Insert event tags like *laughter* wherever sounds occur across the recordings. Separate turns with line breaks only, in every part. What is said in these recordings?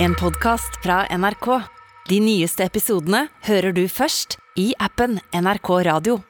En podcast fra NRK. De nyeste episodene hører du først i appen NRK Radio.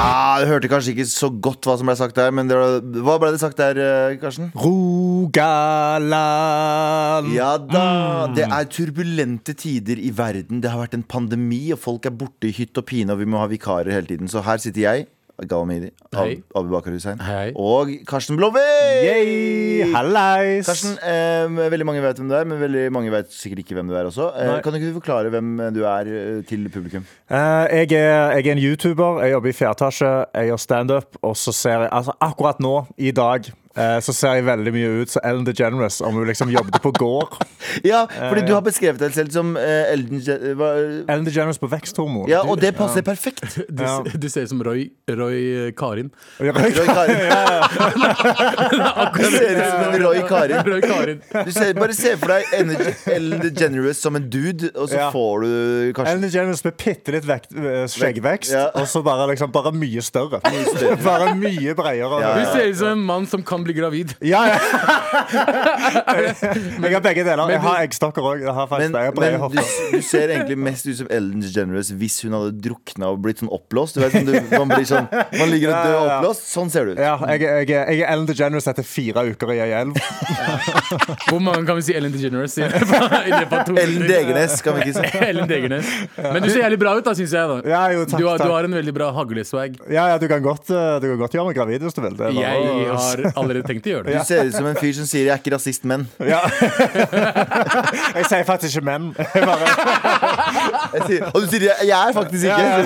Ah, du hørte kanskje ikke så godt hva som ble sagt der, men det var, hva ble det sagt der, eh, Karsten?
Rogaland.
Ja da! Det er turbulente tider i verden. Det har vært en pandemi, og folk er borte i hytt og pine, og vi må ha vikarer hele tiden. Så her sitter jeg, Gawa Mehidi,
Hei.
Ab Abu Bakar Hussein,
Hei.
og Karsten Blomvik!
Yay, hallais.
Karsten, eh, veldig mange vet hvem du er, men veldig mange vet sikkert ikke hvem du er også. Eh,
Nei.
kan ikke du forklare hvem du er eh, til publikum?
Eh, jeg, er, jeg er en YouTuber. Jeg jobber i fjerde etasje. Jeg gjør standup. Og så ser jeg altså, akkurat nå, i dag, eh, så ser jeg veldig mye ut som Ellen DeGeneres om hun liksom jobbet på gård.
*laughs* Ja,
Eh.
fordi du har beskrevet deg selv som eh, Elden Je- hva-
Ellen DeGeneres på veksthormon.
Ja, og det passer perfekt.
*laughs* Du,
Ja.
du ser ut som Roy, Roy *laughs* Karin.
Roy *laughs* Karin. Du ser ut som en Roy Karin.
Roy Karin.
Du ser, bare se for deg Energy, Ellen DeGeneres som en dude, og så
Ja.
får du
Ellen
kanskje
DeGeneres med bitte litt vekt, eh, skjeggvekst,
Ja.
og så bare, liksom, bare mye større.
større.
*laughs* bare mye bredere.
Ja,
Du
ja.
ser ut som en mann som kan bli gravid.
Ja,
*laughs*
ja. *laughs* Jeg har begge deler. Jeg
men-
har eggstokker òg. Jeg har faktisk
men,
jeg har brede
men du,
hofter.
du ser egentlig mest ut som Ellen DeGeneres hvis hun hadde drukna og blitt sånn oppblåst. Du vet, sånn du, man, blir sånn, man ligger og
Ja,
dør
ja, ja.
oppblåst. Sånn ser du ut.
Ja, jeg, jeg, jeg er Ellen DeGeneres etter fire uker i ei
*laughs*
elv.
Hvor mange kan vi si Ellen DeGeneres i løpet av- i løpet av to
Ellen
minutter?
Degernes, kan vi ikke si.
*laughs* Ellen Degernes. Men du ser jævlig bra ut, da, syns jeg. da
Ja, jo, takk,
du, har,
takk.
du har en veldig bra hagleswag.
Ja, ja, du kan godt, eh, du kan godt gjøre meg gravid hvis du vil. Det er bare-
Jeg har allerede tenkt å gjøre
Du
det.
ser ut som en fyr som sier 'jeg er ikke rasist, men'.
*laughs* ja. *laughs* Jeg sier faktisk ikke menn. Jeg bare,
Jeg sier, og du sier 'jeg jeg er faktisk ikke'.
Ja,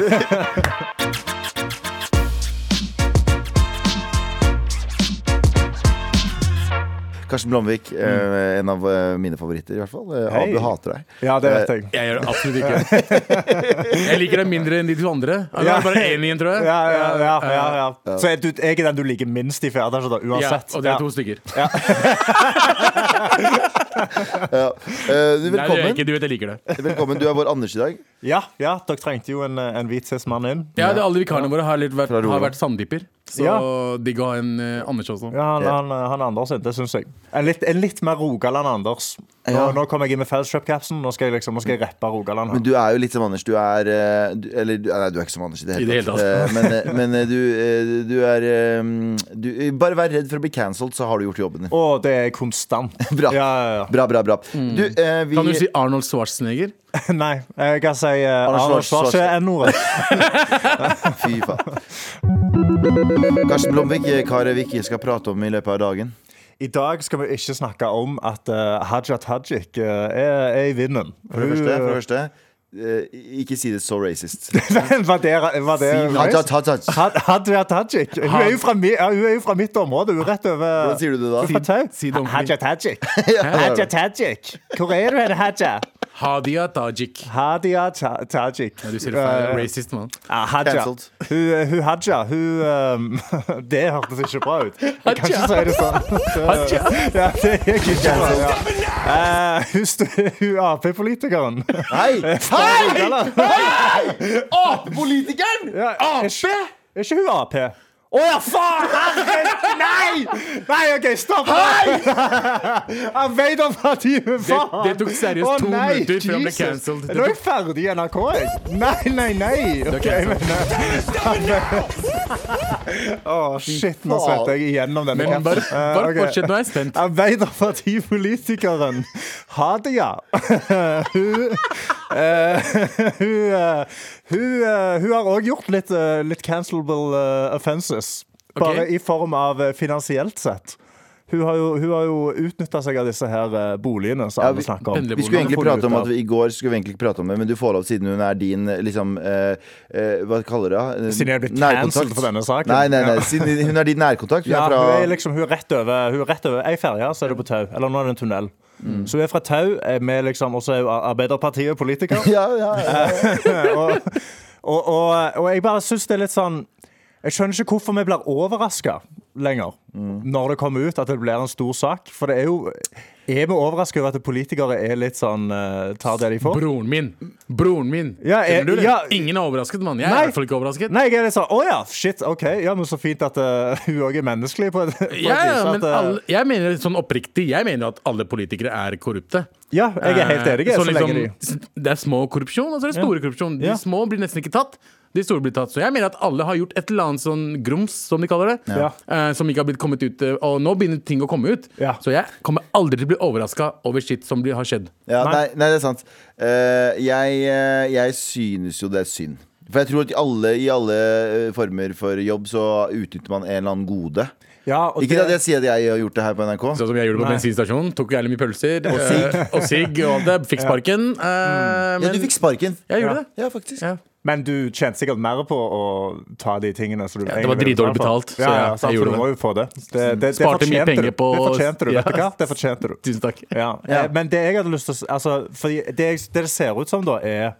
Karsten Blomvik, eh, en av eh, mine favoritter i hvert fall. Eh,
Hei.
Abu hater deg.
ja, det vet jeg.
Jeg gjør det absolutt ikke. Jeg liker deg mindre enn de to andre. Det
Ja.
er bare én igjen, tror jeg.
Eh, Ja, ja, ja, ja, ja. Så er du, jeg er den du liker minst i fjerde etasje, da,
Eh, Ja,
uansett.
og dere er
Ja.
to stykker.
Ja. Eh, du,
Nei, det gjør jeg
velkommen.
ikke. Du vet jeg liker det.
velkommen. Du er vår Anders i dag.
ja, ja, dere trengte jo en, eh, en hvit cis mann inn.
Ja, det, Alle vikarene våre har, litt vært,
Fra Rogaland.
har vært sanddyper. Så
Ja.
digg å ha en eh, Anders også.
Ja, han, han, han Anders, det syns jeg. En litt, en litt mer Rogaland Anders. Nå,
Ja.
nå kommer jeg inn med Fellescup-capsen. Nå skal jeg liksom, nå skal jeg rappe Rogaland. her.
Men du er jo litt som Anders. Du er eh, du, Eller du- nei, du er ikke som Anders i det
I
hele
det
tatt.
hele
Eh, Men, eh, men eh, du, eh, du er eh, du, Bare vær redd for å bli cancelled, så har du gjort jobben din.
Å, det er konstant.
*laughs* Bra.
Ja, ja, *laughs*
Bra, bra, bra. Du, eh, vi
Kan du si Arnold Schwarzenegger?
ja. Nei, jeg kan si uh, Anders
Schwarz-
Schwarze
Schwarz-
N-ordet.
Fy faen. Karsten Blomvik, eh, hva er det vi ikke skal prate om i løpet av dagen?
I dag skal vi ikke snakke om at eh, Haja Tajik eh, er, er i vinden.
For det første,
*laughs*
for det første eh, ikke si det så racist.
første. Var det, var det
Si Haja Tajik.
Had- Hadia Tajik. Hun er, jo fra mi, ja, hun er jo fra mitt område. Hun er rett over
Hvordan sier du det da?
Hun er fra Tau.
Si det ordentlig.
Haja Tajik. Haja Tajik. Hvor er du hen, Haja?
Hadia Tajik.
Hadia Ta Tajik.
Ja, du sier det feil.
Eh,
Racist, mann.
ah, Haja.
Cancelled.
Hun, hun Haja, hun um, *laughs* Det hørtes ikke bra ut. Jeg kan ikke si det sånn. Så- Ja, det gikk ikke bra. Ja. Eh, hun stu- hun Ap-politikeren.
Hei! Hei!
Apepolitikeren!
Ja, er ikke- Er ikke hun Ap? Å ja, faen! herregud, Nei! Nei, OK, stopp. *laughs* Arbeiderpartiet, faen!
Det- det tok seriøst
Å,
to
nei,
minutter før han ble
Jesus.
cancelled. Det
Nå er jeg
tok-
ferdig i NRK, jeg. Nei, nei, nei. Ok, men eh, *laughs* Å, shit, nå svetter jeg igjennom denne
Men bare,
kapsen. Eh,
bare
ok.
fortsett, nå er jeg spent.
Arbeiderpartipolitikeren Hadia Hun eh, *laughs* Hun eh, Hun, eh, hun har òg gjort litt, eh, litt cancelable eh, offenses. Bare
Ok.
i form av eh, finansielt sett. Hun har jo, hun har jo utnytta seg av disse her eh, boligene som
Ja,
alle
vi-
snakker om.
pendler-
Vi skulle egentlig
Hvordan får du
prate om
ut
at
av-
vi, I går skulle vi egentlig ikke prate om det, men du får lov siden hun er din liksom, eh, eh, Hva kaller du det? Eh,
Siden jeg er blitt
nærkontakt.
cancelled for denne saken.
Nei, nei, nei,
Ja.
siden hun er din nærkontakt. Hun
Ja,
er fra
hun er liksom hun er rett over Hun er rett over ei ferje, så er du på Tau. Eller nå er det en tunnel.
Mm.
Så hun er fra Tau, eh, med liksom, og så er hun Ar- Arbeiderpartiet
*laughs*
politiker.
ja, ja, ja.
og, og, og, og jeg bare syns det er litt sånn Jeg skjønner ikke hvorfor vi blir overraska lenger
Mm.
når det kommer ut at det blir en stor sak. For det er jo Er vi overrasket over at politikere er litt sånn eh, tar det de får?
Broren min! Broren min!
Ja, jeg-
Skjønner du det?
ja.
Ingen er overrasket, mann. Jeg er
Nei.
i hvert fall ikke overrasket.
Nei, jeg er litt sånn Å ja, shit, OK. Ja, men så fint at eh, *laughs* hun òg er menneskelig på et, på et
Ja, ja,
vis.
men
At, eh,
alle, jeg mener sånn oppriktig Jeg mener at alle politikere er korrupte.
ja, jeg er helt enig.
Eh,
Så,
så liksom,
lenge de
Det er små korrupsjon, og så er det store korrupsjon. De
Ja.
små blir nesten ikke tatt. De store blir tatt. Så jeg mener at alle har gjort et eller annet sånn grums, som de kaller det.
Ja.
eh, som ikke har blitt kommet ut. eh, Og nå begynner ting å komme ut.
Ja.
Så jeg kommer aldri til å bli overraska over shit som blir- har skjedd.
Ja,
Nei.
nei. Nei, det er sant. Eh, jeg, eh, jeg synes jo det er synd. For jeg tror at i alle, i alle eh, former for jobb så utnytter man en eller annen gode.
Ja, og
Ikke
det-
at jeg sier at jeg har gjort det her på NRK.
Sånn som jeg gjorde på
Nei.
bensinstasjonen. Tok jævlig mye pølser. Og sigg. Og, sigg, og alt det. Fikk sparken. eh,
Mm. Ja,
men
du fikk sparken.
jeg
Ja.
gjorde det.
Ja, faktisk.
Ja.
Men du tjente sikkert mer på å ta de tingene som du
det var
egentlig ville
dritdårlig
betale for.
betalt, så
Ja, ja,
jeg-
sant,
jeg
for
gjorde
du
det.
må jo få det. Det, det, det,
Sparte mye
fortjente du.
penger på-
Det fortjente du,
Ja.
vet du hva? Det fortjente du.
Tusen takk.
Ja.
Ja.
eh, Men det jeg hadde lyst til å s- altså, fordi det, jeg- det det ser ut som, da, er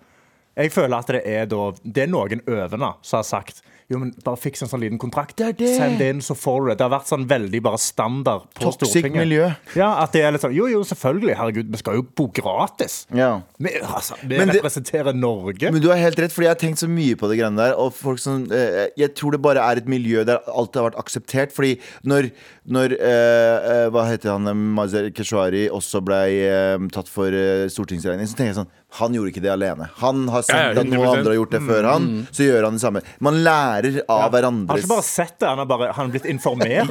Jeg føler at det er da Det er noen øvende som har sagt jo, men bare fiks en sånn liten kontrakt. Send det inn, så får du det. Det har vært sånn veldig bare standard på
Toxic
Stortinget.
miljø.
Ja, at det er litt sånn Jo, jo, selvfølgelig. Herregud, vi skal jo bo gratis.
Ja.
Vi, altså, vi
Men det-
representerer Norge.
Men du har helt rett, fordi jeg har tenkt så mye på det greiene der. Og folk som, eh, jeg tror det bare er et miljø der alt har vært akseptert. Fordi når, når eh, eh, hva heter han, Mazer Keshvari også ble eh, tatt for eh, stortingsregning, så tenker jeg sånn Han gjorde ikke det alene. Han har
Ja,
sett
ja,
at noen
100%.
andre har gjort det før han, så gjør han det samme. Man lærer av
Han har
hverandres
ikke bare sett det, han har bare han har blitt informert.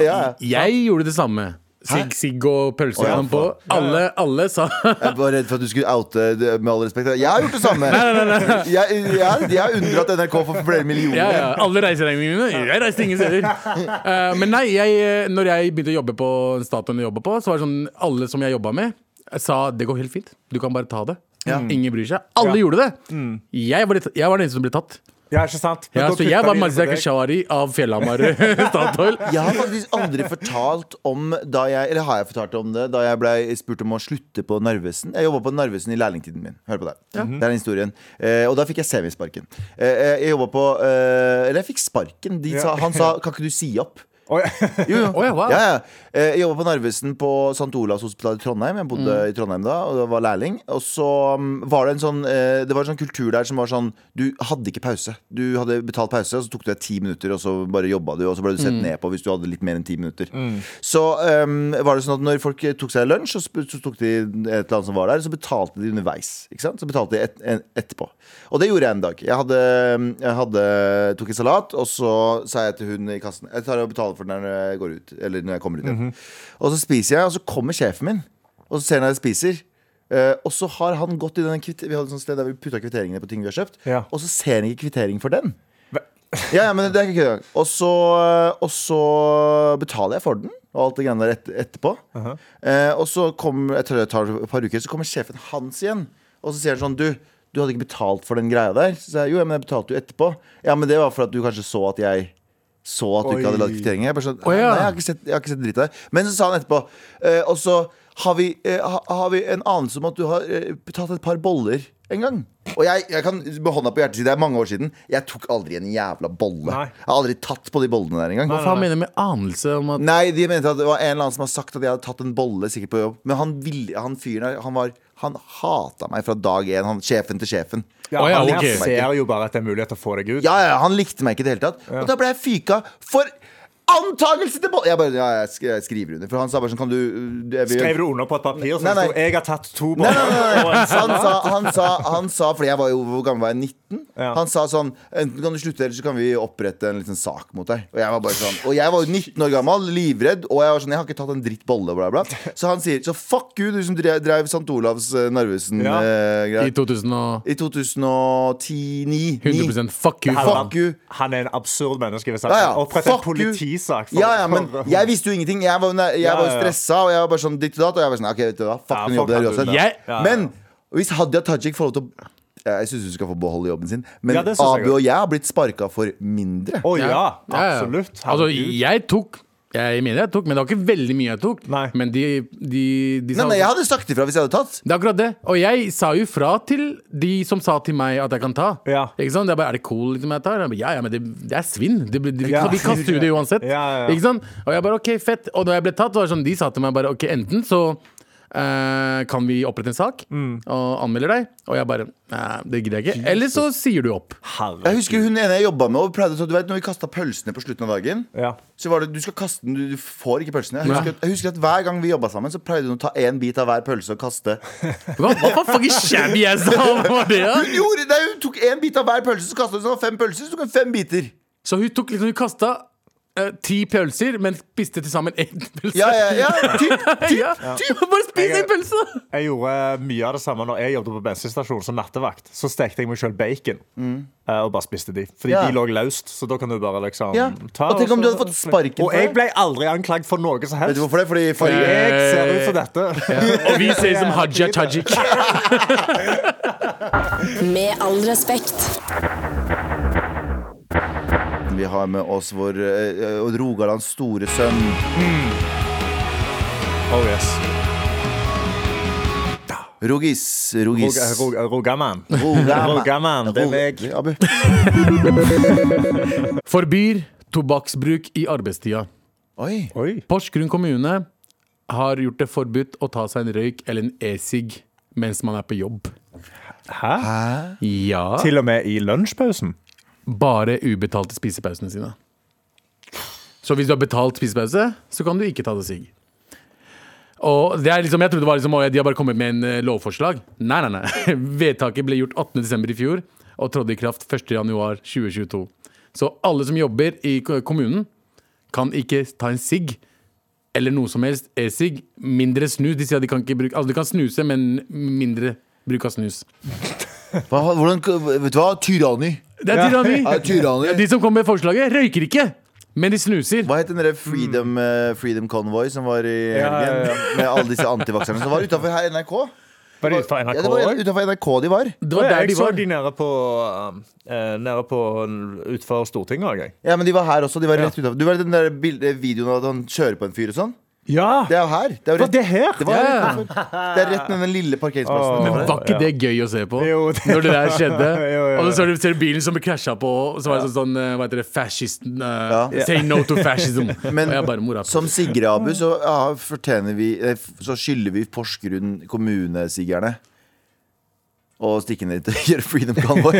*laughs* ja.
Jeg gjorde det samme. Sigg, sigg og
Å,
pølser
ja,
og sånn på. Alle, alle sa
Jeg var redd for at du skulle oute det, med all respekt. Jeg har gjort det samme! Jeg, jeg, jeg har unndratt NRK for flere millioner.
ja, ja, alle reiseregningene mine. Jeg reiste ingen steder. Eh, men nei, jeg, eh, når jeg begynte å jobbe på den statuen jeg jobba på, så var det sånn alle som jeg jobba med, sa det går helt fint. Du kan bare ta det. Mm. Ingen bryr seg. Alle
Ja.
gjorde det. Jeg var, litt, jeg var den eneste som ble tatt.
Ja, ikke sant? Men
Ja,
da
så
kutta
jeg var
de det på
Mazia
deg.
Keshari av Fjellhamar eh, *laughs* Statoil.
Jeg har faktisk aldri fortalt om da jeg Eller har jeg fortalt om det da jeg ble spurt om å slutte på Narvesen? Jeg jobba på Narvesen i lærlingtiden min. Hør på det. Det er den historien. Eh, og da fikk jeg semisparken. Eh, jeg jobba på eh, Eller jeg fikk sparken. De sa, han sa 'kan ikke du si opp'?
Oi. *laughs*
Jo, jo.
Å ja, wow.
ja, ja. Eh, Jeg jobba på Narvesen på St. Olavs hospital i Trondheim. Jeg bodde i Trondheim da og var lærling. Og så mm, var det en sånn eh, Det var en sånn kultur der som var sånn Du hadde ikke pause. Du hadde betalt pause, og så tok du deg ti minutter, og så bare jobba du, og så ble du sett ned på hvis du hadde litt mer enn ti minutter. Så eh, var det sånn at når folk tok seg lunsj, så, sp- så tok de et eller annet som var der, så betalte de underveis. Ikke sant? Så betalte de et, en, etterpå. Og det gjorde jeg en dag. Jeg, hadde, jeg hadde, tok en salat, og så sa jeg til hun i kassen Jeg tar og betaler for den her når jeg går ut. Eller når jeg kommer ut igjen. Og så spiser jeg, og så kommer sjefen min, og så ser han at jeg spiser. Eh, og så har han gått i den kvitter... Vi hadde et sånt sted der vi putta kvitteringene på ting vi har kjøpt.
Ja.
Og så ser han ikke kvittering for den.
Hva-
Ja, ja, men det er ikke kødd. Og så- Og så betaler jeg for den og alt det greiene der et, etterpå. eh, og så kommer jeg tror det tar et par uker, så kommer sjefen hans igjen. Og så sier han sånn Du, du hadde ikke betalt for den greia der. Så sier jeg, jo, ja, men jeg betalte jo etterpå. Ja, men det var for at du kanskje så at jeg så at du ikke
Oi.
hadde lagd kvitteringen. Jeg, bare sånn,
Å, ja.
nei, jeg, har ikke sett, jeg har ikke sett dritt av det. Men så sa han etterpå eh, Og så har vi, eh, ha, har vi en anelse om at du har eh, betalt et par boller en gang. Og jeg, jeg kan med hånda på hjertet si det er mange år siden. Jeg tok aldri en jævla bolle.
Nei.
Jeg har aldri tatt på de bollene der engang.
Hva faen mener du med anelse om at
Nei, de mente at det var en eller annen som har sagt at jeg hadde tatt en bolle sikkert på jobb. Men han, ville, han fyren der, han var Han hata meg fra dag én. Han, sjefen til sjefen.
Ja,
Å ja,
han
ok.
ser jo bare at det er mulighet til å få deg ut.
Ja, ja, han likte meg ikke i det hele tatt. Og da ble jeg fyka for antakelse til bolle! Jeg bare, ja, jeg sk- jeg skriver under. For han sa bare sånn, kan du jeg vil-
Skrev du under på et papir som
Nei,
det
nei.
sto 'Jeg har tatt to
Nei,
boller'?
nei, nei, nei.
sånn
Han, sa, han, sa, han sa, fordi jeg var jo, hvor gammel var jeg, 19?
Ja.
Han sa sånn, enten kan du slutte, eller så kan vi opprette en liten sak mot deg Og jeg var bare sånn, og jeg var jo 19 år gammel, livredd Og jeg var sånn, jeg har ikke tatt en dritt bolle, bla bla Så han sier, så fuck you, du som drev, drev St. Olavs eh, Narvesen
Ja.
eh,
i
greier
2000 og
I 2010 9,
100 Fuck you.
Han-
Fuck.
Fuck you
Han er en absurd menneske. Hvis han
ja, ja.
Opprett en
Fuck you.
politisak. for-
ja, ja, men
for-
jeg visste jo ingenting. Jeg var, jeg
Ja, ja,
var
ja.
stressa, og jeg var bare sånn ditt og datt. Og jeg var sånn, ok, vet du hva, fuck
Ja,
den
fuck
jobben der
han
uansett.
jobben
der. Jeg-
Ja, ja.
Men hvis Hadia Tajik får lov til å Jeg syns hun skal få beholde jobben sin, men
Ja, det synes jeg
Abu
også.
og jeg har blitt sparka for mindre.
Å ja,
Ja, ja.
absolutt.
Altså,
Herregud.
jeg tok Jeg mener jeg tok, men det var ikke veldig mye jeg tok.
Nei.
Men de, de, de sa
Nei, nei, jeg hadde sagt ifra hvis jeg hadde tatt.
Det er akkurat det. Og jeg sa jo fra til de som sa til meg at jeg kan ta.
Ja.
Ikke sant? Det er, bare, er det cool liksom jeg tar? Jeg bare, ja, ja, men det, det er svinn. Det, blir- det, vi,
Ja.
vi kaster jo det uansett.
Ja, ja, ja.
Ikke sant? Og jeg bare OK, fett. Og da jeg ble tatt, var det sånn, de sa til meg bare OK, enten så eh, kan vi opprette en sak
Mm.
og anmelder deg? Og jeg bare Nei, det gidder jeg ikke. Eller så sier du opp.
Jeg husker hun ene jeg jobba med, og pleide å ta- du vet, når vi kasta pølsene på slutten av dagen.
Ja.
Så var det, Du skal kaste den, du- du får ikke pølsene. Jeg
Ja.
husker, at, jeg husker at Hver gang vi jobba sammen, så pleide hun å ta én bit av hver pølse og kaste.
Hva, hva fucking shabby jeg sa? *laughs* Hva var det? Ja?
Hun, gjorde, nei, hun tok én bit av hver pølse, så kastet hun så det var fem pølser. Så tok hun fem biter.
Så hun tok liksom, hun kasta eh, ti pølser, men spiste til sammen én pølse.
Ja, ja, ja, typ, typ,
*laughs* Ja.
typ.
*laughs* Bare spis
Jeg-
en pølse!
*laughs*
Jeg gjorde eh, mye av det samme når jeg jobbet på bensinstasjon som nattevakt. Så stekte jeg meg sjøl bacon eh, og bare spiste de.
Mm.
Fordi
Ja.
de lå løst, så da kan du bare liksom
Ja. Og tenk om du
så-
hadde fått sparken for
Og jeg
det.
ble aldri anklagd for noe som
Vet du
helst.
hvorfor det? Fordi
Fordi
forrige
jeg ser ut som dette. *laughs*
Og vi ser som Haja
*laughs*
Tajik.
Med all respekt.
Vi har med oss vår eh, eh, Rogalands store sønn.
Oh yes.
Rogis. Rogis.
Rog- rog- Rogamann.
Rogamann.
Rogamann, det er meg.
Rog- Abu.
Forbyr tobakksbruk i arbeidstida.
Oi.
Oi.
Porsgrunn kommune har gjort det forbudt å ta seg en røyk eller en e-sigg mens man er på jobb.
Hæ?
Ja.
Til og med i lunsjpausen?
Bare ubetalte spisepausene sine. Så hvis du har betalt spisepause, så kan du ikke ta deg sigg. Og det er liksom, Jeg trodde det var liksom, «Å, de har bare kommet med en eh, lovforslag. Nei, nei, nei. *laughs* Vedtaket ble gjort 18.12. i fjor og trådte i kraft 1.1.2022. Så alle som jobber i ko- kommunen, kan ikke ta en sigg eller noe som helst e-sigg. Mindre snus. De sier at de kan ikke bruke Altså, de kan snuse, men mindre bruk av snus.
Hva, hvordan, vet du hva? Tyranni.
Det er tyranni!
Ja, tyranni.
De som kom med forslaget, røyker ikke, men de snuser.
Hva het den der
Mm.
Freedom, eh, Freedom Convoy som var i helgen? Med alle disse antivakserne som var utafor her NRK?
Var det utenfor NRK
Ja, det var
også?
utenfor NRK de var.
Det
Å,
var
ja,
der
jeg
de
så
var.
de nede på, eh, nede på eh, Utenfor Stortinget òg, jeg.
Ja, men de var her også. De var rett utenfor. Du vet den der bildet, videoen av at han kjører på en fyr og sånn?
Ja!
Det er jo her. Det er jo
Var det
rett,
her?
det var
Ja.
rett utenfor. Det er rett ned den lille parkeringsplassen.
Åh.
der
Men
var det.
var ikke det gøy å se på?
Jo, det-
Når det der
*laughs*
skjedde.
Jo, jo, jo.
Og så ser du- ser du bilen som ble krasja på, og så var det sånn, sånn eh, hva heter det, fascisten eh,
Ja.
Say no to fascism.
*laughs* Men
og jeg bare mora
som Sigrid Abu, så, ja, fortjener vi, eh, f- så skylder vi Porsgrunn kommune, Sigerne. Og stikke ned til gjøre Freedom Convoy.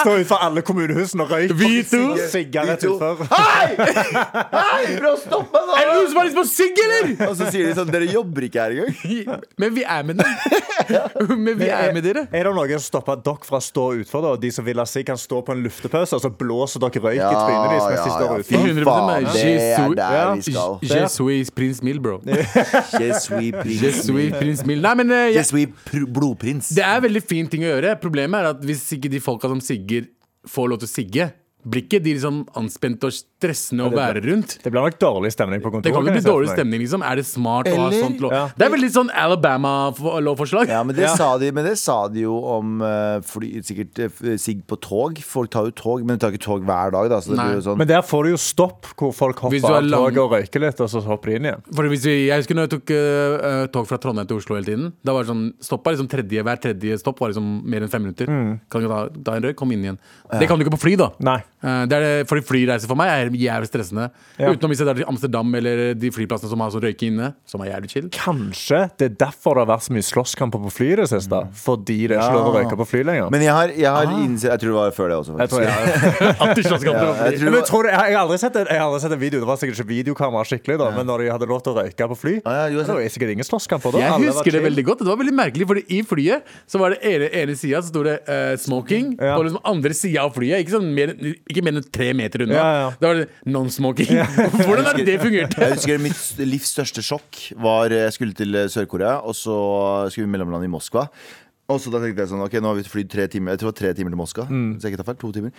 Stå utenfor alle kommunehusene og røyk.
Vi to.
Sigger rett
Vi to.
utenfor.
Hei! Hei, prøv å stoppe meg,
Er det
da!
noen som har lyst på sigg, eller?! *laughs*
Og så sier de sånn Dere jobber ikke her engang.
Men vi er med dere.
*laughs*
Men vi er med dere.
Er det noen som stopper dere fra å stå utfor, da? Og de som vil ha sigg, kan stå på en luftepause, og så blåser dere røyk i trynet deres mens de står
Fy
utenfor?
I 100%
faen,
meg.
det er
Jesus.
der vi skal.
Je suis prins Mil, bro.
Je suis prins.
Je suis prins Mil. Nei, men eh,
Je
jeg,
suis pr blodprins.
Det er veldig fin ting å gjøre. Problemet er at hvis ikke de folka som sigger, får lov til å sigge, blir ikke de liksom anspente og stressende å være rundt.
Det blir nok dårlig stemning på
Det
kontoret.
kan
kan
jo bli
jeg se for
dårlig
meg.
stemning, liksom. Er det smart å ha
Eller-
sånt lov?
Ja.
Det er veldig sånn Alabama-lovforslag.
Ja, men det, Sa de, men det sa de jo om eh, fly, sikkert eh, sigg på tog. Folk tar jo tog, men de tar ikke tog hver dag. Da, så det
Nei.
blir jo sånn
Men der får du jo stopp, hvor folk
Hvis
hopper
du er
av toget
lang-
og røyker litt, og så hopper de inn igjen.
For hvis vi, jeg husker når jeg tok eh, eh, tog fra Trondheim til Oslo hele tiden. Da var det sånn, stoppa liksom tredje, Hver tredje stopp var liksom mer enn fem minutter. Kan du ta, ta en røyk, kom inn igjen. Det kan du ikke på fly, da.
Mm. Nei.
Eh, det er det, fordi flyreiser for meg er jævlig stressende.
Ja.
Utenom hvis jeg drar til Amsterdam eller de flyplassene som har sånn røyke inne, som er jævlig chill.
*laughs* Kanskje det er derfor det har vært så mye slåsskamper på fly i det siste. Fordi det er ikke lov å røyke på fly lenger.
Mm. Men jeg har, jeg har innsett Jeg tror det var før det også.
jeg tror jeg,
Antislåsskamper og
Jeg tror
*laughs*
fly.
Men
det var,
tror du, jeg, har aldri sett en, jeg har aldri sett en video. Det var sikkert ikke videokamera skikkelig, da, men når de hadde lov til å røyke på fly
Ja, ja, jo, jeg
Det var sikkert ingen slåsskamper da.
Jeg
Alle var
husker det
chill.
veldig godt. og Det var veldig merkelig, fordi i flyet så var det ene, ene sida så sto det eh, 'smoking'.
Ja.
På liksom andre sida av flyet, ikke, sånn mer, ikke mer enn tre meter unna.
Ja, ja.
Da var det 'non-smoking'. *laughs* Hvordan er det det fungerte?
*laughs*
jeg husker mitt livs største sjokk var Jeg skulle til eh, Sør-Korea, og så skulle vi mellomlande i Moskva. Og så da tenkte jeg sånn Ok, nå har vi flydd tre timer. Jeg tror det var tre timer til Moskva.
Mm.
Så jeg ikke tar feil, to timer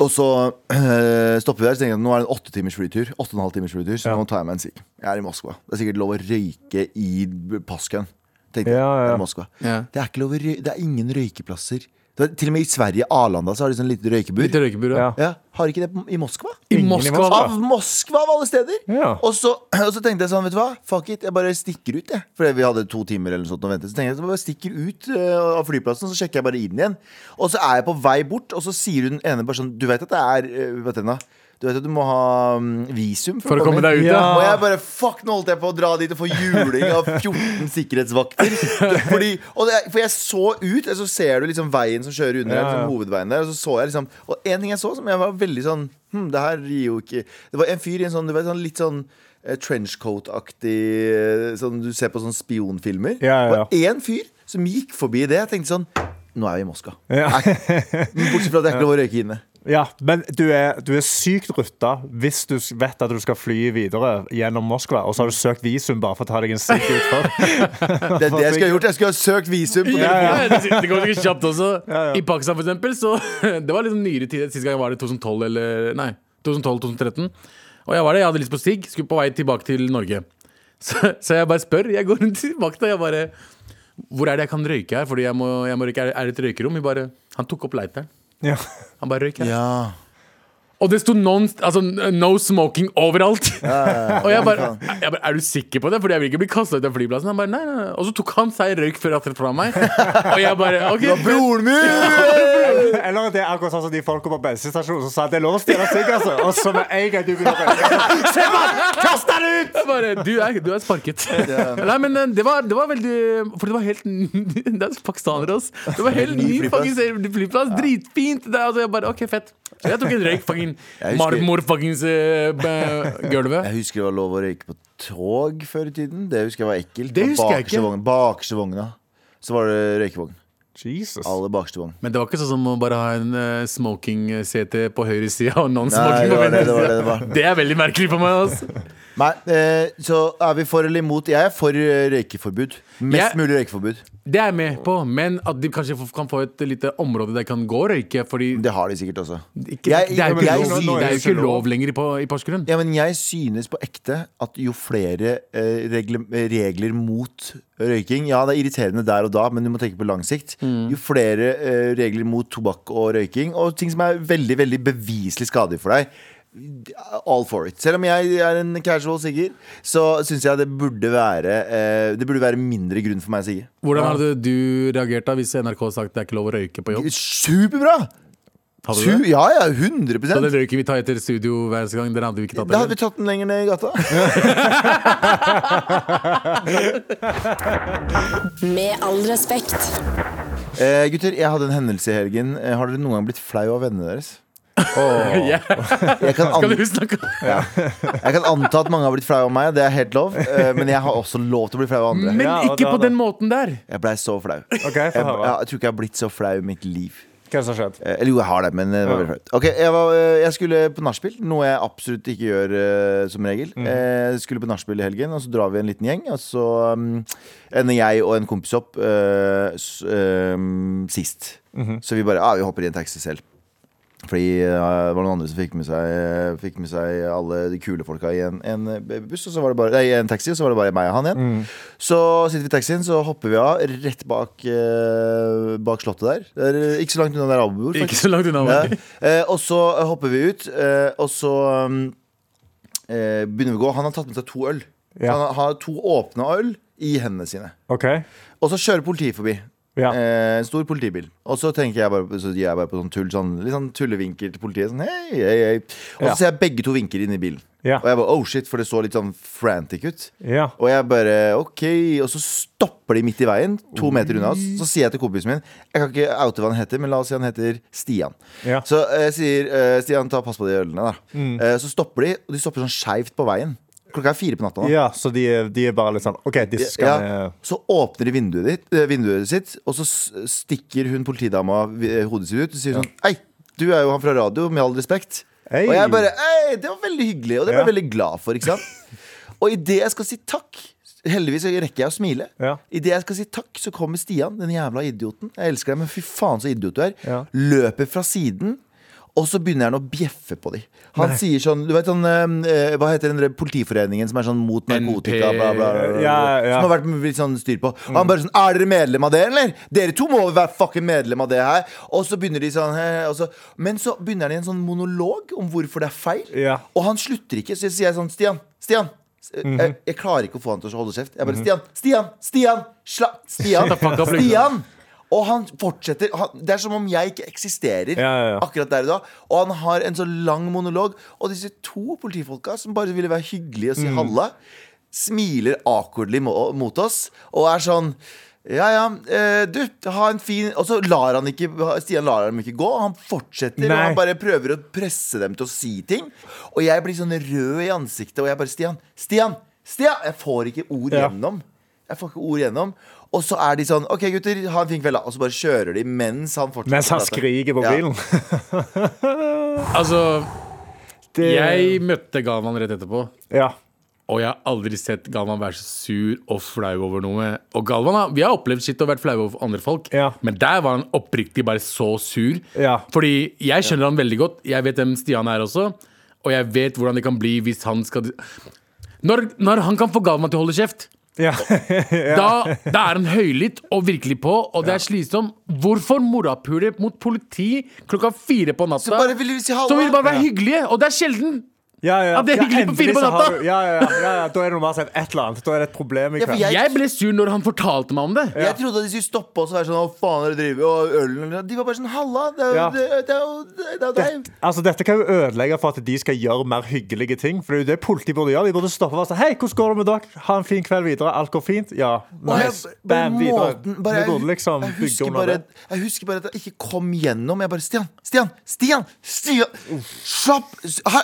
Og så *clears throat* eh, stopper vi der. Så tenker jeg at nå er det en åtte timers flytur. Åtte og en halv timers flytur Så nå tar jeg meg en sigg. Jeg er i Moskva. Det er sikkert lov å røyke i passkøen. Tenkte jeg.
Ja, ja, ja.
Jeg er i Moskva.
Ja.
Det er ikke lov å røy Det er ingen røykeplasser. Det var, til og med i Sverige, Arlanda, så har de sånn lite røykebur.
Litt røykebur, ja.
Ja.
Ja, Har ikke det på- i Moskva?
I
Ingen i
Moskva.
Moskva.
Av Moskva, av alle steder!
Ja.
Og, så, og så tenkte jeg sånn, vet du hva, fuck it, jeg bare stikker ut, jeg. Fordi vi hadde to timer eller noe sånt å vente. Så tenkte jeg så bare stikker ut eh, av flyplassen, så sjekker jeg bare inn igjen. Og så er jeg på vei bort, og så sier hun ene personen Du vet at det er eh, hva heter den da? Du vet at du må ha mm, visum
For å komme
inn?»
deg ut,
Ja.
ja.
Og jeg bare, fuck, nå holdt jeg på å dra dit og få juling av 14 sikkerhetsvakter. Fordi, og det, for jeg så ut, og så ser du liksom veien som kjører under,
Ja,
liksom
ja.
hovedveien der. Og så så jeg liksom Og en ting jeg så som jeg var veldig sånn hm, Det her gir jo ikke Det var en fyr i en sånn, du vet, sånn litt sånn eh, trenchcoat-aktig eh, Sånn du ser på sånne spionfilmer.
Ja, ja, ja.
Det var én fyr som gikk forbi det. Jeg tenkte sånn Nå er vi i Moskva.
Ja.
Nei, men bortsett fra at det er ikke lov å røyke
*laughs*
inne.
Ja, men du er, du er sykt rutta hvis du s- vet at du skal fly videre gjennom Moskva, og så har du søkt visum bare for å ta deg en stikk
*laughs*
utfor.
Det er det jeg skulle ha gjort. Jeg skulle ha søkt visum. På
Ja,
telefonen.
ja. Det går sikkert kjapt også. I Pakistan, for eksempel, så *laughs* Det var liksom nyere tid. Sist gang jeg var det 2012 eller Nei, 2012-2013. Og jeg var det, jeg hadde lyst på sigg, skulle på vei tilbake til Norge. *laughs* Så, så jeg bare spør. Jeg går rundt i vakta, jeg bare Hvor er det jeg kan røyke her? Fordi jeg må, jeg må røyke. Er det- Er det et røykerom? Vi bare Han tok opp lighteren.
Ja. *laughs*
Han bare røyk her.
Ja.
Og det sto non, altså, no smoking overalt! *laughs* og jeg bare, jeg bare Er du sikker på det? Fordi jeg vil ikke bli kasta ut av flyplassen. Han bare, nei, nei, nei. Og så tok han seg en røyk før han traff fra
*laughs*
meg. Og jeg bare OK.
Det var broren min!
Eller det er akkurat sånn som de folka på bensinstasjonen som sa at det er lov å stjele sigg, altså. Og så med en gang du begynner å røyke Se, mann! Kast den ut!
Jeg bare, du er, du er sparket. Nei, men eh, det var, det var veldig For det var helt n- *laughs* Det er pakistanere, ass. Det var helt ny
Ny flyplass.
fuckings flyplass. Dritfint. Det, er altså, jeg bare, OK, fett. Så jeg tok en røyk fucking
Jeg husker-
marmor fuckings eh, b- gulvet.
Jeg husker det var lov å røyke på tog før i tiden. Det husker jeg var ekkelt.
Det
På
husker jeg
bakerste
ikke.
vogn- Bakerste vogna. Så var det røykevogn.
Jesus.
Aller bakerste vogn.
Men det var ikke sånn som å bare ha en eh, smoking-CT på høyre side og
Nei,
non-smoking
det
på
var det, det,
venstre
var det,
side.
det var.
Det er veldig merkelig for meg. altså. ass.
Nei, eh, så er vi for eller imot? Jeg er for eh, røykeforbud. Mest
Jeg-
mulig røykeforbud.
Det er jeg med på, men at de kanskje f- kan få et lite område der de kan gå og røyke. Fordi
Det har de sikkert også. Jeg-
ikke, det, er jo
jeg-
ikke
jeg-
lov, det er jo ikke lov lenger i, på, i Porsgrunn.
Ja, men jeg synes på ekte at jo flere eh, regler, regler mot røyking Ja, det er irriterende der og da, men du må tenke på lang sikt.
Mm.
Jo flere eh, regler mot tobakk og røyking, og ting som er veldig veldig beviselig skadelig for deg. All for it. Selv om jeg er en casual sigger, så syns jeg det burde være eh, Det burde være mindre grunn for meg å sigge.
Hvordan hadde du reagert da hvis NRK sagt det er ikke lov å røyke på jobb?
Superbra!
Hadde
Su
du det?
ja, ja, 100
Så den
Da
røyken vi tar etter studio hver eneste gang, den hadde vi ikke tatt
hadde
eller?
vi tatt den lenger ned i gata.
Med all respekt.
Eh, gutter, jeg hadde en hendelse i helgen. Eh, har dere noen gang blitt flau av vennene deres?
*laughs* Ja.
Jeg kan, an
Skal du snakke om
jeg kan anta at mange har blitt flau av meg, det er helt lov. Eh, men jeg har også lov til å bli flau av andre.
Men
Ja,
ikke
da-
på
da-
den måten der!
Jeg blei så
*laughs*
flau. Jeg,
OK, få
jeg,
høre.
tror ikke jeg har blitt så flau i mitt liv.
Hva er det som har skjedd?
Eh, Eller jo, jeg har det, men det var veldig flaut. Ok, jeg, var, eh, jeg skulle på nachspiel, noe jeg absolutt ikke gjør eh, som regel.
Mm.
Eh, Jeg skulle på nachspiel i helgen, og så drar vi en liten gjeng. Og så um, ender jeg og en kompis opp eh, s- um, sist.
Mm-hmm.
Så vi bare ah, vi hopper i en taxi selv. Fordi eh, det var noen andre som fikk med seg, eh, fikk med seg alle de kule folka i en, en buss, og så var det bare, nei, en taxi, og så var det bare meg og han igjen.
Mm.
Så sitter vi i taxien, så hopper vi av rett bak, eh, bak slottet der. Det er eh, ikke så langt unna der Abu bor.
Ikke så langt unna.
Ja.
meg.
Eh, og så hopper vi ut, eh, og så um, eh, begynner vi å gå. Han har tatt med seg to øl.
Ja.
Han har to åpne øl i hendene sine.
OK.
Og så kjører politiet forbi.
Ja.
Eh, en stor politibil. Og så tenker jeg bare, så gir jeg bare på sånn tull, sånn, litt sånn tullevinker til politiet. Sånn, hei, hei, hei. Og så
Ja.
ser jeg begge to vinker inn i bilen.
Ja.
Og jeg bare, oh shit, for det så litt sånn frantic ut.
ja.
Og jeg bare, ok Og så stopper de midt i veien, to meter unna oss. Så sier jeg til kompisen min Jeg kan ikke oute hva han heter, men la oss si han heter Stian.
Ja. Mm.
Så eh, jeg sier eh, Stian, ta pass på de ølene, da. Eh, så stopper de, og de stopper sånn skeivt på veien. Klokka er fire på natta. da.
ja, så de, er- de er bare litt sånn OK, disse skal eh, vi
Ja, så åpner de vinduet, ditt, eh, vinduet sitt, og så s- stikker hun politidama vi- hodet sitt ut og sier sånn Hei, du er jo han fra radio, med all respekt.
Hei.
Og jeg bare Hei, det var veldig hyggelig, og det ble jeg
Ja.
veldig glad for, ikke
*laughs*
sant? og idet jeg skal si takk Heldigvis så rekker jeg å smile.
Ja.
Idet jeg skal si takk, så kommer Stian, den jævla idioten. Jeg elsker deg, men fy faen så idiot du er.
Ja.
Løper fra siden. Og så begynner han å bjeffe på dem. Han sier sånn Du vet sånn eh, Hva heter den der politiforeningen som er sånn mot narkotika?
NP?
Bla, bla, bla, bla,
Ja, ja.
Som har vært litt sånn styr på. Og han bare sånn Er dere medlem av det, eller? Dere to må være fucking medlem av det her. Og så begynner de sånn eh, og så, Men så begynner han i en sånn monolog om hvorfor det er feil.
Ja.
Og han slutter ikke, så jeg sier sånn Stian, Stian
Mhm.
jeg, jeg klarer ikke å få han til å holde kjeft. Jeg bare Stian, Stian, Stian! Slapp
*laughs*
Stian!
the fuck up, liksom.
Stian! Og han fortsetter. Han, det er som om jeg ikke eksisterer
Ja, ja, ja.
akkurat der og da. Og han har en så lang monolog. Og disse to politifolka som bare ville være hyggelige og si
Mm.
halla, smiler awkwardly mo- mot oss og er sånn ja, ja, eh, du, ha en fin Og så lar han ikke Stian lar dem ikke gå. Han fortsetter, og
Nei.
han bare prøver å presse dem til å si ting. Og jeg blir sånn rød i ansiktet, og jeg bare Stian, Stian! Stian! Jeg får ikke ord
Ja.
gjennom. Jeg får ikke ord gjennom. Og så er de sånn OK, gutter, ha en fin kveld, da. Og så bare kjører de mens han fortsetter.
Mens han
å prate.
skriker på
Ja.
bilen. *laughs*
Altså,
Det,
jeg møtte Galvan rett etterpå.
ja.
Og jeg har aldri sett Galvan være så sur og flau over noe. Og Galvan, har- Vi har opplevd shit og vært flaue over andre folk,
Ja.
men der var han oppriktig bare så sur.
Ja.
Fordi jeg skjønner han veldig godt. Jeg vet hvem Stian er også, og jeg vet hvordan det kan bli hvis han skal Når, når han kan få Galvan til å holde kjeft,
Ja. *laughs*
da, da er han høylytt og virkelig på, og det er slitsom. Hvorfor morapuler mot politi klokka fire på natta?
Så bare vil vi si halla.
Så vil de bare være hyggelige, og det er sjelden.
Ja, ja.
Ja, det er hyggelig på
endelig
fire på
så har
natta.
du- Ja, ja, ja, ja, ja. Da er det normalt sett et eller annet. Da er det et problem i
Ja, for
kveld.
Jeg-
Jeg ble sur når han fortalte meg om det.
Jeg trodde at de skulle stoppe oss og være sånn Hva faen er det dere driver med? Og ølen eller noe?» De var bare sånn Halla, det er jo
Ja.
det, det er jo- det, er jo deg.
Altså, dette kan jo ødelegge for at de skal gjøre mer hyggelige ting. For det er jo det politiet burde gjøre. De burde stoppe og si Hei, hvordan går det med dere? Ha en fin kveld videre. Alt går fint? Ja.
Og jeg-
Nice.
bare
Bam, videre.
måten- bare
Vi
jeg-
burde liksom
jeg
bygge
husker
under
bare-
det.
Jeg husker bare at jeg ikke kom gjennom. Jeg bare Stian, Stian, Stian! Stian! Slapp her.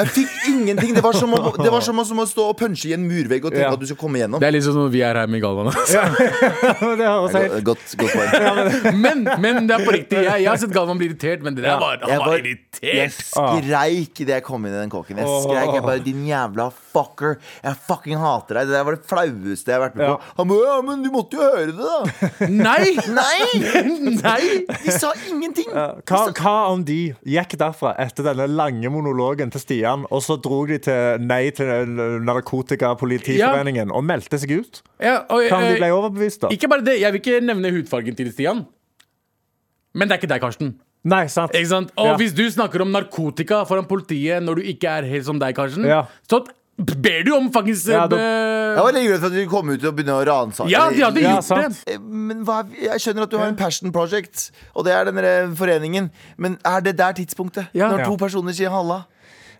Jeg fikk ingenting. Det var som å, det var som å, som å stå og punche i en murvegg og tenke
Ja.
at du skal komme gjennom.
Det er litt sånn når vi er her med
*laughs*
Galvan. altså.
*laughs* det høres helt
Godt, godt
*laughs*
poeng.
Men, men det er på riktig. Jeg, jeg har sett Galvan bli irritert, men det der
Ja.
var,
Jeg
han var
var- Jeg
irritert.
skreik idet jeg kom inn i den kåken. Jeg
Åh.
skreik, jeg bare Din jævla fucker. Jeg fucking hater deg. Det der var det flaueste jeg har vært med
Ja.
på. Han bare, ja, men du måtte jo høre det, da.
Nei!
Nei!
*laughs* Nei!
De sa ingenting.
Hva, hva om de gikk derfra etter denne lange monologen til Stian, og så dro de til Nei til Narkotikapolitiforeningen og meldte seg ut?
Ja, og,
Hva om de
eh,
ble overbevist, da?
ikke bare det, jeg vil ikke nevne hudfargen til Stian. Men det er ikke deg, Karsten.
Nei, sant?
Ikke sant? Og
Ja.
hvis du snakker om narkotika foran politiet når du ikke er helt som deg, Karsten,
Ja.
så ber du om fuckings
Ja, da-
eh,
Jeg var litt redd for at de kom ut og begynne å ransake. Eh,
Ja, de hadde
Ja,
gjort
sant.
det!
Men hva, jeg skjønner at du har en passion project, og det er den der eh, foreningen. Men er det der tidspunktet?
Ja.
Når
Ja.
to personer sier halla?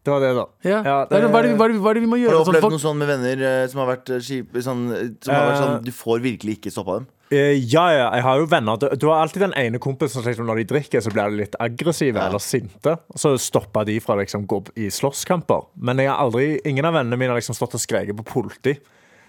Det var det, da.
Ja.
Ja,
Hva er det- hva er det- hva er det hva er det vi må
Har du
gjøre? sånn
opplevd
folk-
noe sånn med venner eh, som har vært eh, kjipe? Sånn, eh, som har vært
Eh.
sånn Du får virkelig ikke stoppa dem?
Eh, ja, ja, jeg har jo venner Du, du har alltid den ene kompisen som liksom, når de drikker, så blir de litt aggressive eller sinte. Så stopper de fra å liksom, gå i slåsskamper. Men jeg har aldri, ingen av vennene mine har liksom stått og skreket på politi.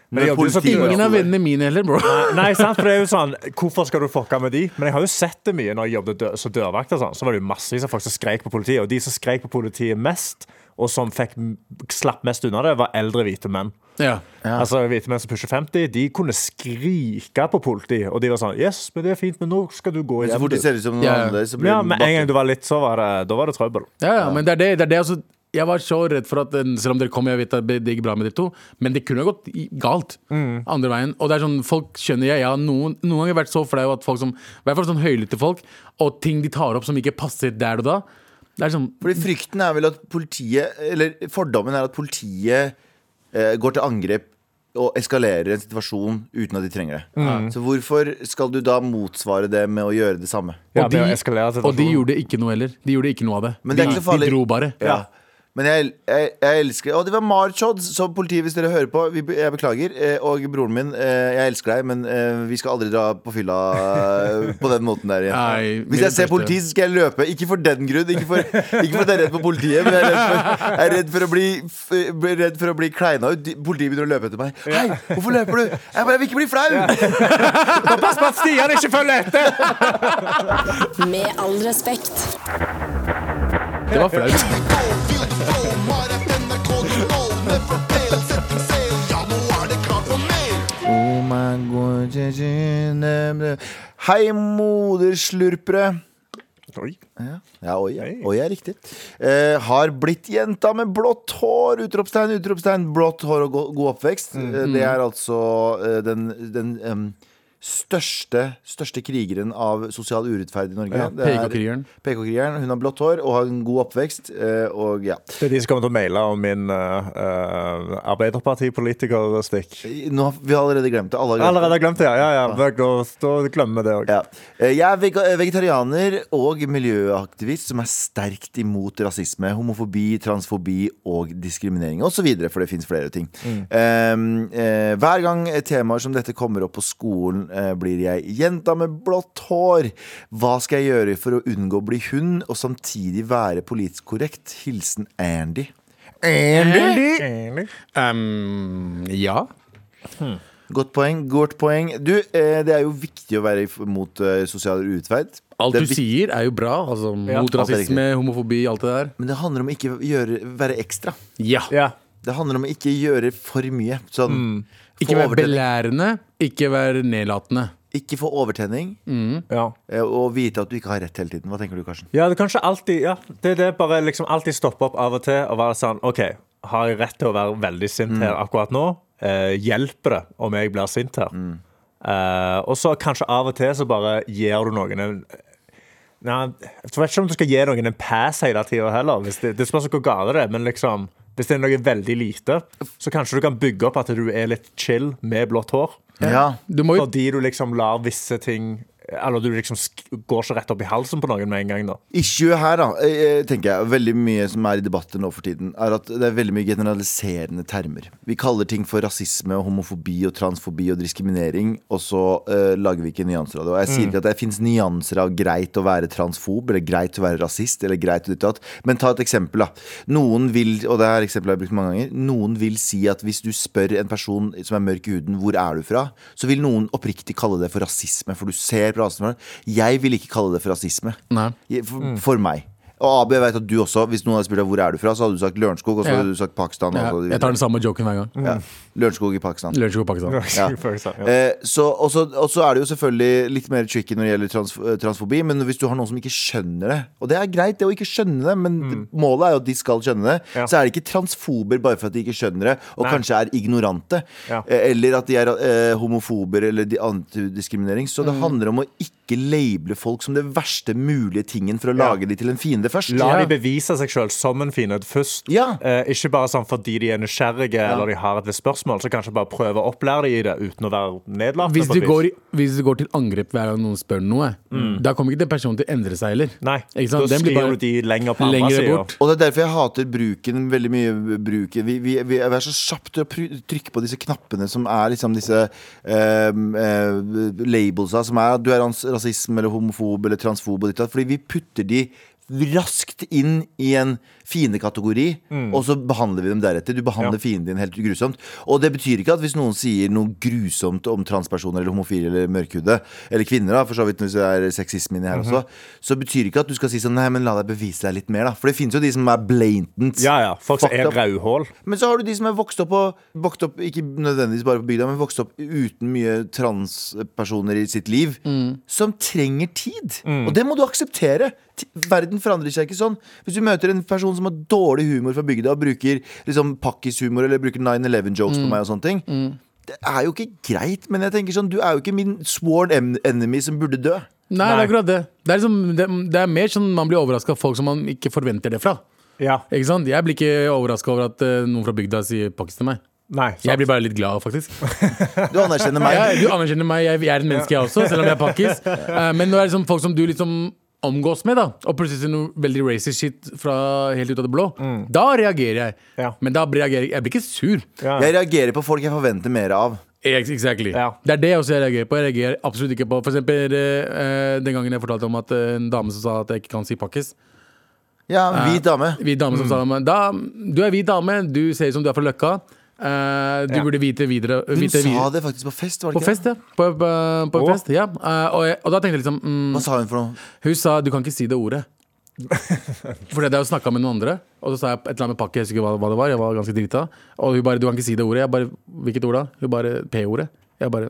Men jeg jobber jo som
politi-
Ingen
dørvakt.
av vennene mine heller, bro.
Nei, sant, for det er jo sånn Hvorfor skal du fucke med de? Men jeg har jo sett det mye når jeg jobbet dø som dørvakt. og Sånn. Så var det jo massevis av folk som skrek på politiet. Og de som skrek på politiet mest, og som fikk m- slapp mest unna det, var eldre hvite menn.
Ja.
Altså Hvite menn som pusher 50, de kunne skrike på politiet. Og de var sånn Yes, men det er fint, men nå skal du gå
Så
hjem.
fort Altså, de
du."
ser ut som noen
Ja, ja.
andre, så blir
Ja,
de
med
bakke.
en gang du var litt, så var det, da var det trøbbel.
Ja, ja, men det er det, det, er det altså, Jeg var så redd for at eh, Selv om dere kom, jeg vet at det det gikk bra med dere to Men det kunne ha gått i- galt
Mm.
Andre veien Og det er sånn, folk skjønner jeg Jeg har noen, noen ganger vært så flau at folk som I hvert fall sånn høylytte folk Og ting de tar opp som ikke passer der og da Det er sånn
Fordi frykten er vel at politiet Eller fordommen er at politiet eh, går til angrep og eskalerer en situasjon uten at de trenger det.
Mm.
Så hvorfor skal du da motsvare det med å gjøre det samme?
Ja,
og
det å
de-
eskalere
Og de
situasjonen.
gjorde ikke noe heller De gjorde ikke noe av det,
Men det er
de,
ikke så farlig.
de
*laughs*
dro bare
Ja. Men jeg, jeg, jeg elsker Og det var Marchods, så politiet, hvis dere hører på, vi, be- jeg beklager. eh, Og broren min, eh, jeg elsker deg, men eh, vi skal aldri dra på fylla eh, på den måten der igjen.
Nei,
hvis jeg
mine
ser
første-
politi, så skal jeg løpe. Ikke for den grunn, ikke for, ikke for at jeg er redd for politiet, men jeg er redd for, jeg er redd for å bli f- bli redd for å bli kleina ut. De- Politiet begynner å løpe etter meg. Hei, hvorfor løper du? Jeg bare jeg vil ikke bli flau!
Pass på at Stian ikke følger etter!
Med all respekt.
Det var flaut
Oh my God, Hei, moderslurpere.
Oi.
Ja, ja oi, ja.
Hei.
oi er riktig. Eh, har blitt jenta med blått hår! Utropstegn, utropstegn. Blått hår og go god oppvekst. Eh, det er altså eh, den, den em, største, største krigeren av sosial urettferd i Norge.
Ja,
Det er
PK-krigeren.
PK-krigeren. Hun har blått hår og har en god oppvekst. eh, og ja.
Det er de som kommer til å maile om min uh, uh, arbeiderpartipolitikerstikk.
Nå, har- vi har allerede glemt det. Alle har glemt det.
Allerede har glemt det, ja. ja, ja. Da, da glemmer vi det òg.
Ja. Eh, Jeg er vega- eh, vegetarianer og miljøaktivist som er sterkt imot rasisme, homofobi, transfobi og diskriminering osv., for det fins flere ting. Eh, eh, hver gang temaer som dette kommer opp på skolen, eh, blir jeg jenta med blått hår. Hva skal jeg gjøre for å unngå å bli hun, og samtidig være politisk korrekt? Hilsen Andy.
Um, ja.
Godt poeng. godt poeng Du, eh, Det er jo viktig å være if- mot eh, sosial urettferd.
Alt
Det er
du sier er jo bra. Altså, mot
alt er
rasisme, homofobi, alt det der.
Men det handler om ikke å gjøre, være ekstra.
Ja.
Ja.
Det handler om ikke gjøre for mye. Sånn, få
Ikke vær
overtenning-
belærende, ikke vær nedlatende.
ikke få overtenning,
Ja.
eh, og vite at du ikke har rett hele tiden. Hva tenker du, Karsten?
ja, det er kanskje alltid ja. Det er det bare liksom alltid stoppe opp av og til og være sånn OK, har jeg rett til å være veldig sint her akkurat nå? Eh, hjelper det om jeg blir sint her? Eh, og så kanskje av og til så bare gir du noen en Nei, jeg vet ikke om du skal gi noen en pass hele tida heller. Hvis det, det spørs hvor gale det er, men liksom hvis det er noe veldig lite, så kanskje du kan bygge opp at du er litt chill med blått hår.
Ja.
Du må jo
Fordi du liksom lar visse ting Eller du liksom sk går ikke rett opp i halsen på noen med en gang, da. *laughs*
Issue her, da, eh, tenker jeg, veldig mye som er i debatter nå for tiden, er at det er veldig mye generaliserende termer. Vi kaller ting for rasisme og homofobi og transfobi og diskriminering, og så eh, lager vi ikke nyanser av det. Og jeg sier ikke at det fins nyanser av greit å være transfob, eller greit å være rasist, eller greit å ditt og datt, men ta et eksempel, da. Noen vil, og det her eksempelet har jeg brukt mange ganger, noen vil si at hvis du spør en person som er mørk i huden, hvor er du fra, så vil noen oppriktig kalle det for rasisme, for du ser på rasen. Jeg vil ikke kalle det for rasisme.
Nei.
I- For,
Mm.
for meg. Og AB, jeg vet at du også, hvis noen hadde spurt deg hvor er du fra, så hadde du sagt Lørenskog, og så
Ja.
hadde du sagt Pakistan.
ja,
Og så,
Jeg tar den samme joken hver gang.
ja. Lørenskog i Pakistan.
Lunsj på Pakistan.
Ja.
Ja.
Eh, så, og så og så er det jo selvfølgelig litt mer tricky når det gjelder trans, eh, transfobi, men hvis du har noen som ikke skjønner det Og det er greit, det å ikke skjønne det, men målet er jo at de skal skjønne det.
Mm. Ja.
Så er det ikke transfober bare for at de ikke skjønner det, og
Nei.
kanskje er ignorante.
Ja.
Eh, eller at de er eh, homofober eller de- antidiskriminering. Så
Mm.
det handler om å ikke labele folk som det verste mulige tingen for å
Ja.
lage de til en fiende først.
La
Ja.
de bevise seg sjøl som en finhet først.
Ja.
Eh, ikke bare sånn fordi de er nysgjerrige eller de har et visst spørsmål. Så kanskje bare prøve å opplære de i det uten å være nedlatende.
Hvis
på
du,
et vis.
går, i- hvis du går til angrep hver gang noen spør noe, da kommer ikke den personen til å endre seg heller.
Mm. Nei,
Ikke sant?
da
Den blir
sklir du
bare
de lenger på andre
Lengre
sida.
bort.
Og det er derfor jeg hater bruken veldig mye. Bruken. Vi, vi, vi er så kjappe til å pry- trykke på disse knappene som er liksom disse ehm, eh, labelsa som er at du er ans- rasism eller homofob eller transfob og ditt og datt. Fordi vi putter de raskt inn i en fiendekategori, og så behandler vi dem deretter. Du behandler fienden din helt grusomt. Og det betyr ikke at hvis noen sier noe grusomt om transpersoner eller homofile eller mørkhude, eller kvinner, da, for så vidt hvis det er sexisme inni her også, så betyr ikke at du skal si sånn Nei, men la deg bevise deg litt mer, da. For det finnes jo de som er blatant.
Ja, ja. Folk som
fucked
er
up.
rødhål.
Men så har du de som er vokst opp og vokst opp, Ikke nødvendigvis bare på bygda, men vokst opp uten mye transpersoner i sitt liv. Som trenger tid.
Mm.
Og det må du akseptere. Ti- Verden forandrer seg ikke sånn. Hvis du møter en person som har dårlig humor fra bygda, og bruker liksom pakkishumor eller bruker 9-11-jokes på meg og sånne ting. Det er jo ikke greit, men jeg tenker sånn du er jo ikke min sworn en- enemy som burde dø.
Nei, det
Nei.
er akkurat det. Det er, liksom, det, det er mer sånn man blir overraska av folk som man ikke forventer det fra.
Ja.
Ikke sant? Jeg blir ikke overraska over at eh, noen fra bygda sier pakkis til meg.
Nei. sant.
Jeg blir bare litt glad, faktisk.
Du anerkjenner
*laughs*
meg.
Jeg, du anerkjenner meg, jeg, jeg er et menneske, jeg også, selv om jeg
*laughs*
er pakkis. Eh, Men nå er det liksom folk som du liksom omgås med, da og plutselig sier noe veldig racist shit fra helt ut av det blå, da reagerer jeg.
Mm. Ja.
Men da reagerer jeg Jeg blir ikke sur.
Ja.
Jeg reagerer på folk jeg forventer mer av.
Ex- Exactly.
Ja.
Det er det jeg også reagerer på. Jeg reagerer absolutt ikke på For eksempel eh, den gangen jeg fortalte om at eh, en dame som sa at jeg ikke kan si pakkis.
Ja, hvit dame.
Hvit dame
Mm.
som sa da, Du er hvit dame, du ser ut som du er fra Løkka. Eh, du
Ja.
burde vite videre
Hun
vite
sa
videre.
det faktisk på fest, var det
På
ikke?
fest, ja. På, på, på en
Å.
fest, ja. Eh, og, jeg, og da tenkte jeg liksom mm,
Hva sa hun for noe?
Hun sa du kan ikke si
*laughs*
det ordet. Fordi jeg snakka med noen andre, og så sa jeg et eller annet med pakke. Jeg husker ikke hva, hva det var, jeg var ganske drita. Og hun bare 'du kan ikke si det ordet'. Jeg bare 'hvilket ord da?' Hun bare 'p-ordet'. Jeg bare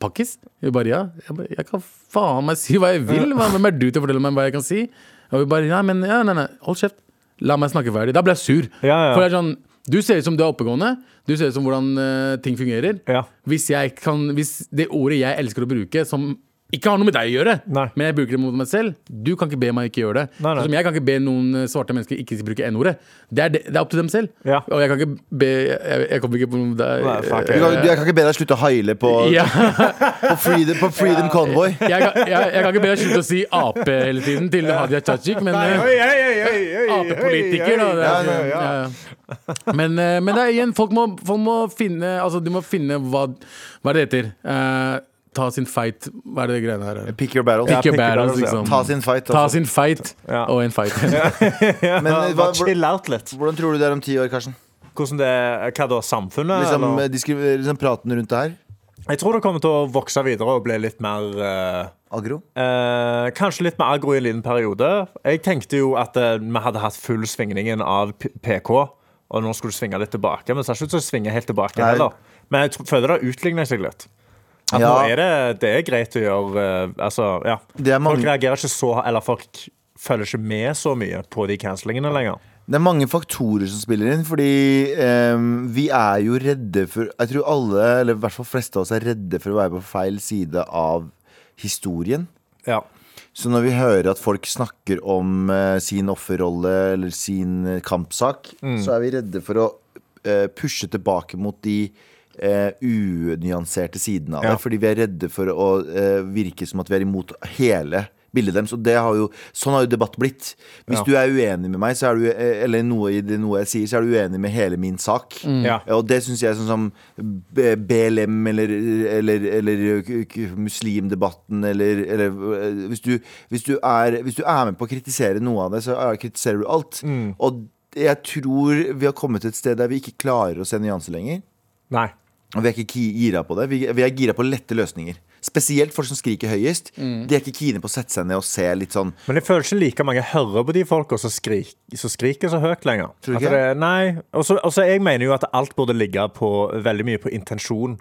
Pakkis? Hun bare ja. Jeg, bare, jeg kan faen meg si hva jeg vil. Hva- Hvem er du til å fortelle meg hva jeg kan si? Og hun bare ja, men ja, nei, nei, hold kjeft. La meg snakke ferdig. Da ble jeg sur.
Ja, ja.
For det er sånn, du ser ut som du er oppegående. Du ser ut som hvordan eh, ting fungerer.
Ja.
Hvis, jeg kan, hvis det ordet jeg elsker å bruke, som ikke har noe med deg å gjøre,
Nei.
men jeg bruker det mot meg selv, du kan ikke be meg ikke gjøre det.
Nei, nei.
Sånn som jeg kan ikke be noen eh, svarte mennesker ikke bruke N-ordet. Det, er det, det er opp til dem selv.
Ja.
Og jeg kan ikke be Jeg, jeg kommer ikke på noe der.
Nei, fuck
Du
it.
kan, du, jeg kan ikke be deg slutte å haile på,
Eh, Ja.
på Freedom, på freedom Convoy.
jeg, kan- jeg, jeg kan ikke be deg slutte å si Ap hele tiden til Hadia Tajik, men
Oi,
eh,
oi, oi, oi, oi, oi,
Ap-politiker, da.
oi.
Det,
Ja,
er- altså-
ja,
ja, ja. Men, eh, men det er igjen, folk må, folk må finne Altså, de må finne hva Hva er det heter? Eh, ta sin fight. Hva er det greiene her? er?
Pick your battles.
Pick your
pick your battles,
battles,
ja.
liksom.
Ta sin fight.
Ta
Altså.
sin fight
Ja.
og en fight.
Men eh, hva,
Bare Chill out litt.
hvordan tror du det er om ti år, Karsten?
Hvordan det er, Hva da? Samfunnet?
Liksom,
eller?
eh, diskri- liksom praten rundt det her?
Jeg tror det kommer til å vokse videre og bli litt mer eh,
Agro?
Eh, kanskje litt mer agro i en liten periode. Jeg tenkte jo at eh, vi hadde hatt full svingningen av P- PK, og nå skulle det svinge litt tilbake. Men det ser ikke ut som det svinger helt tilbake
Nei.
heller. Men jeg tro- føler det utligner seg litt. At
Ja.
nå er det, det er greit å gjøre eh, Altså, ja.
Det er mange-
Folk reagerer ikke så Eller folk følger ikke med så mye på de cancellingene lenger.
Det er mange faktorer som spiller inn, fordi ehm, vi er jo redde for Jeg tror alle, eller i hvert fall fleste av oss, er redde for å være på feil side av historien.
Ja.
Så når vi hører at folk snakker om eh, sin offerrolle eller sin eh, kampsak,
Mm.
så er vi redde for å eh, pushe tilbake mot de eh, unyanserte sidene av
Ja.
det. Fordi vi er redde for å eh, virke som at vi er imot hele bildet deres. Og det har jo, sånn har jo debatt blitt. Hvis
Ja.
du er uenig med meg, så er du, eh, eller noe i det noe jeg sier, så er du uenig med hele min sak.
Mm. Ja.
Og det syns jeg sånn som B- BLM eller, eller, eller k- k- muslimdebatten eller, eller eh, hvis, du, hvis, du er, hvis du er med på å kritisere noe av det, så er, kritiserer du alt. Og jeg tror vi har kommet til et sted der vi ikke klarer å se nyanser lenger.
Nei.
Og vi er ikke ki- gira på det. Vi, vi er gira på lette løsninger. Spesielt folk som skriker høyest. De er ikke kine på å sette seg ned og se litt sånn
Men jeg føler ikke like mange hører på de folka som, skrik, som skriker så høyt lenger.
Tror du
At
ikke
det? Nei. Og så og så jeg mener jo at alt burde ligge på, veldig mye på intensjon.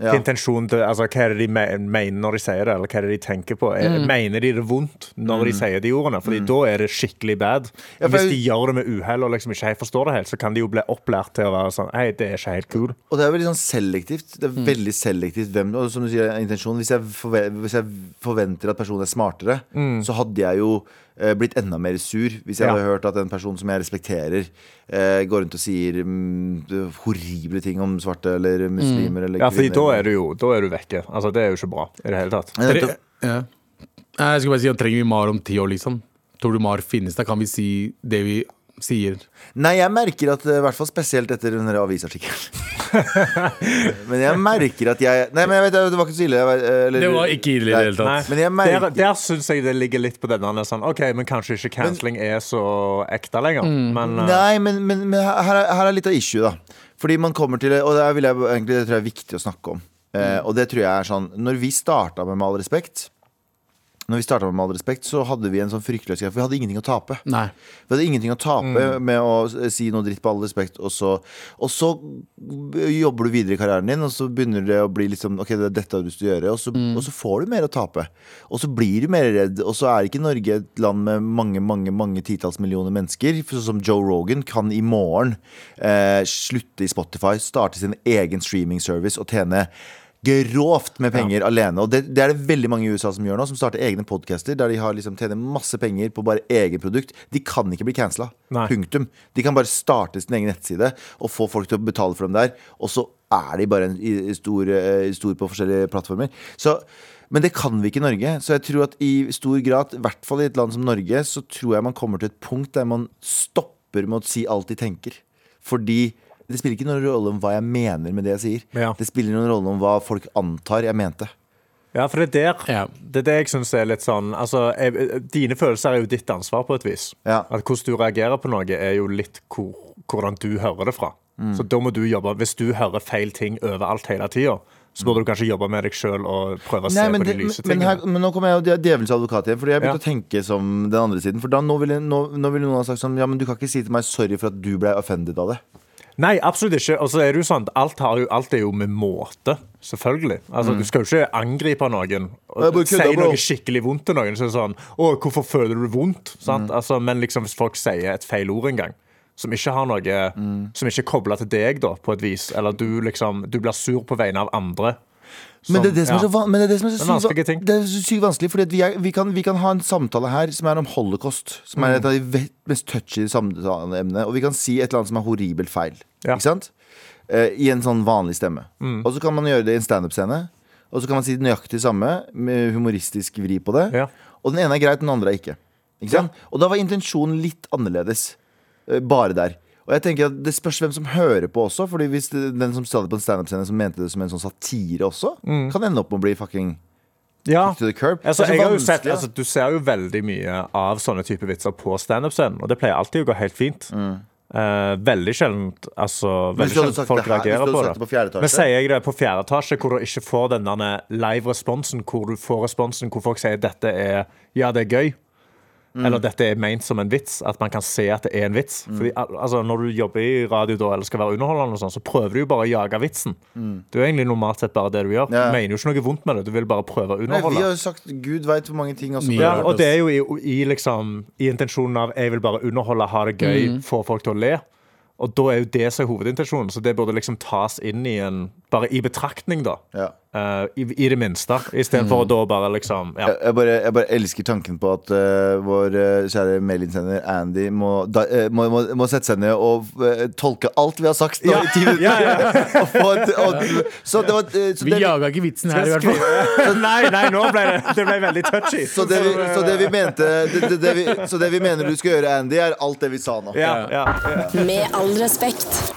ja.
Til intensjon til, altså, hva er det de me mener når de sier det, eller hva er det de tenker på? Er, Mener de det vondt når de sier de ordene? Fordi da er det skikkelig bad.
Mm. Ja, for
Hvis
jeg-
de gjør det med uhell og liksom ikke helt forstår det helt, så kan de jo bli opplært til å være sånn Hei, det er ikke helt cool.
Og det er veldig sånn selektivt. Det er
Mm.
veldig selektivt hvem, og som du sier, intensjonen hvis, jeg forve- hvis jeg forventer at personen er smartere, så hadde jeg jo eh, blitt enda mer sur hvis jeg
Mm. Ja.
hadde hørt at en person som jeg respekterer, eh, går rundt og sier mm, horrible ting om svarte eller muslimer eller
Mm. Ja, fordi da er du jo da er du vekke. Altså, det er jo ikke bra i det hele tatt.
Men dette-
Ja. Nei, Jeg skulle bare si, trenger vi Mar om ti år, liksom? Tror du Mar finnes der? Kan vi si det vi sier?
Nei, jeg merker at eh, i hvert fall spesielt etter den der
*laughs*
avisartikkelen. men jeg merker at jeg Nei, men jeg vet det var ikke så ille. jeg vet, eh, eller-
Det var ikke ille i det hele tatt.
Nei,
Men jeg merker-
Der, der syns jeg det ligger litt på denne. Sånn, OK, men kanskje ikke canceling er så ekte lenger. Men eh,
Nei, men, men, men her, er- her er litt av issue da Fordi man kommer til Og det, er- vil jeg, egentlig, det tror jeg er viktig å snakke om eh, Og det tror jeg er sånn Når vi startet med Med all respekt Når vi startet med Med all respekt Så hadde vi en sånn fryktløs greie For vi hadde ingenting å tape
Nei.
vi hadde ingenting å tape med å si noe dritt på all respekt, og så, og så jobber du videre i karrieren din, og så begynner det å bli litt sånn Ok, det er dette du skal gjøre, og så, og så får du mer å tape. Og så blir du mer redd, og så er ikke Norge et land med mange, mange mange titalls millioner mennesker. for Sånn som Joe Rogan kan i morgen eh, slutte i Spotify, starte sin egen streaming service og tjene grovt med penger alene. Og det, det er det veldig mange i USA som gjør nå, som starter egne podcaster der de har liksom tjener masse penger på bare eget produkt. De kan ikke bli cancela.
Nei.
Punktum. De kan bare starte sin egen nettside og få folk til å betale for dem der. Og så er de bare en, i, i stor, eh, stor på forskjellige plattformer. Så men det kan vi ikke i Norge. Så jeg tror at i stor grad, i hvert fall i et land som Norge, så tror jeg man kommer til et punkt der man stopper med å si alt de tenker. Fordi det spiller ikke noen rolle om hva jeg mener med det jeg sier.
Ja.
Det spiller noen rolle om hva folk antar jeg mente.
Ja, for det er der
Ja.
Det er det jeg syns er litt sånn altså, jeg, Dine følelser er jo ditt ansvar på et vis.
Ja.
At hvordan du reagerer på noe, er jo litt hvor, hvordan du hører det fra.
Mm.
Så da må du jobbe Hvis du hører feil ting overalt hele tida, så burde du kanskje jobbe med deg sjøl og prøve å se
Mm. Nei, men,
på de
det-
lyse
men,
tingene.
her, men nå kommer jeg jo dje- djevelens advokat igjen, Fordi jeg
Ja.
begynte å tenke som den andre siden. For da, nå ville nå, nå ville noen ha sagt sånn Ja, men du kan ikke si til meg sorry for at du ble offended av det.
Nei, absolutt ikke. Og så er det jo sånn at alt, har jo, alt er jo med måte. Selvfølgelig. Altså, Du skal jo ikke angripe noen
Mm. Jeg
og
bare
si
kødda, bro.
noe skikkelig vondt til noen. Så er det sånn, å, hvorfor føler du vondt?
Mm.
Sant? Altså, men liksom, hvis folk sier et feil ord en gang, som ikke har noe
Mm.
Som ikke er kobla til deg, da, på et vis, eller du liksom Du blir sur på vegne av andre.
Men det er det som er så,
Sånn, ja.
van men det er det som er så
Det er
sykt
vanskelige
va-
ting.
det er så sykt vanskelig. Fordi at vi, er, vi, kan, vi kan ha en samtale her som er om holocaust. Som er et av de ve- mest touchy samtaleemnene. Og vi kan si et eller annet som er horribelt feil.
Ja.
Ikke sant? Eh, I en sånn vanlig stemme.
Mm.
Og så kan man gjøre det i en standup-scene. Og så kan man si nøyaktig samme, med humoristisk vri på det.
Ja.
Og den ene er greit, den andre er ikke. ikke sant? Og da var intensjonen litt annerledes. Eh, Bare der. Og jeg tenker at Det spørs hvem som hører på også. Fordi hvis det- den som sa det på en standup-scene som mente det som en sånn satire også, kan ende opp med å bli fucking
Ja.
to the curb.
Mm. Altså,
Det er så
jeg har jo
vanskelig,
sett,
da.
altså, du ser jo veldig mye av sånne type vitser på standup-scenen, og det pleier alltid å gå helt fint. Eh, veldig sjelden altså,
Mm. hvis
veldig
du hadde
sjeldent
sagt
folk
det her- hvis
reagerer
du hadde
på
sagt
det.
det på fjerde etasje?
Men sier jeg det på fjerde etasje, hvor du ikke får den derne live-responsen, hvor du får responsen hvor folk sier dette er Ja, det er gøy.
Mm.
Eller dette er ment som en vits. At man kan se at det er en vits. Fordi, al- altså, når du jobber i radio da, eller skal være underholdende, og sånn, så prøver du jo bare å jage vitsen. Det er jo egentlig normalt sett bare det du gjør.
Mm. Ja.
Du mener jo ikke noe vondt med det. Du vil bare prøve å
Nei,
underholde.
vi har jo sagt gud veit hvor mange ting også.
Ja,
Ja, og det er jo i, i, liksom, i intensjonen av jeg vil bare underholde, ha det gøy, få folk til å le. Og da er jo det som er hovedintensjonen, så det burde liksom tas inn i en Bare i betraktning, da.
Ja.
Eh, i, I det minste. Istedenfor å da bare liksom *laughs* ja.
jeg, bare, jeg bare elsker tanken på at eh, vår eh, kjære mailinnsender Andy må, da, eh, må, må, må sette seg ned og eh, tolke alt vi har sagt nå
Ja.
i ti minutter.
Ja, ja.
*laughs* og få et, og, så det var eh, så
Vi
det,
jaga ikke vitsen her, i hvert fall.
nei, nei, nå ble det, det ble veldig touchy.
så det, vi, så det vi
eh,
mente det, det, det vi, Så det vi mener du skal gjøre, Andy, er alt det vi sa nå.
ja, ja, ja.
Med all respekt.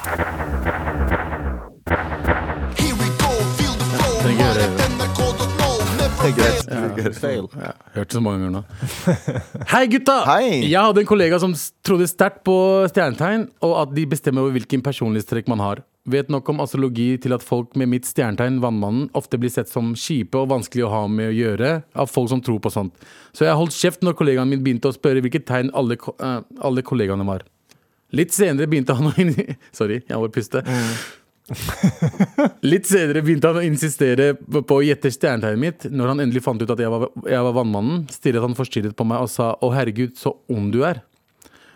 Det er greit. Det er greit.
Hørt så mange ganger nå. *laughs* Hei, gutta!
Hei!
Jeg hadde en kollega som s- trodde sterkt på stjernetegn, og at de bestemmer over hvilken personlighetstrekk man har. Vet nok om astrologi til at folk med mitt stjernetegn, Vannmannen, ofte blir sett som kjipe og vanskelig å ha med å gjøre av folk som tror på sånt. Så jeg holdt kjeft når kollegaen min begynte å spørre hvilket tegn alle, ko- eh, alle kollegaene var. Litt senere begynte han å inni- *laughs* Sorry, jeg må bare puste. Litt senere begynte han å insistere på å gjette stjernetegnet mitt. Når han endelig fant ut at jeg var, jeg var vannmannen, stirret han forstyrret på meg og sa 'Å, herregud, så ond du er'.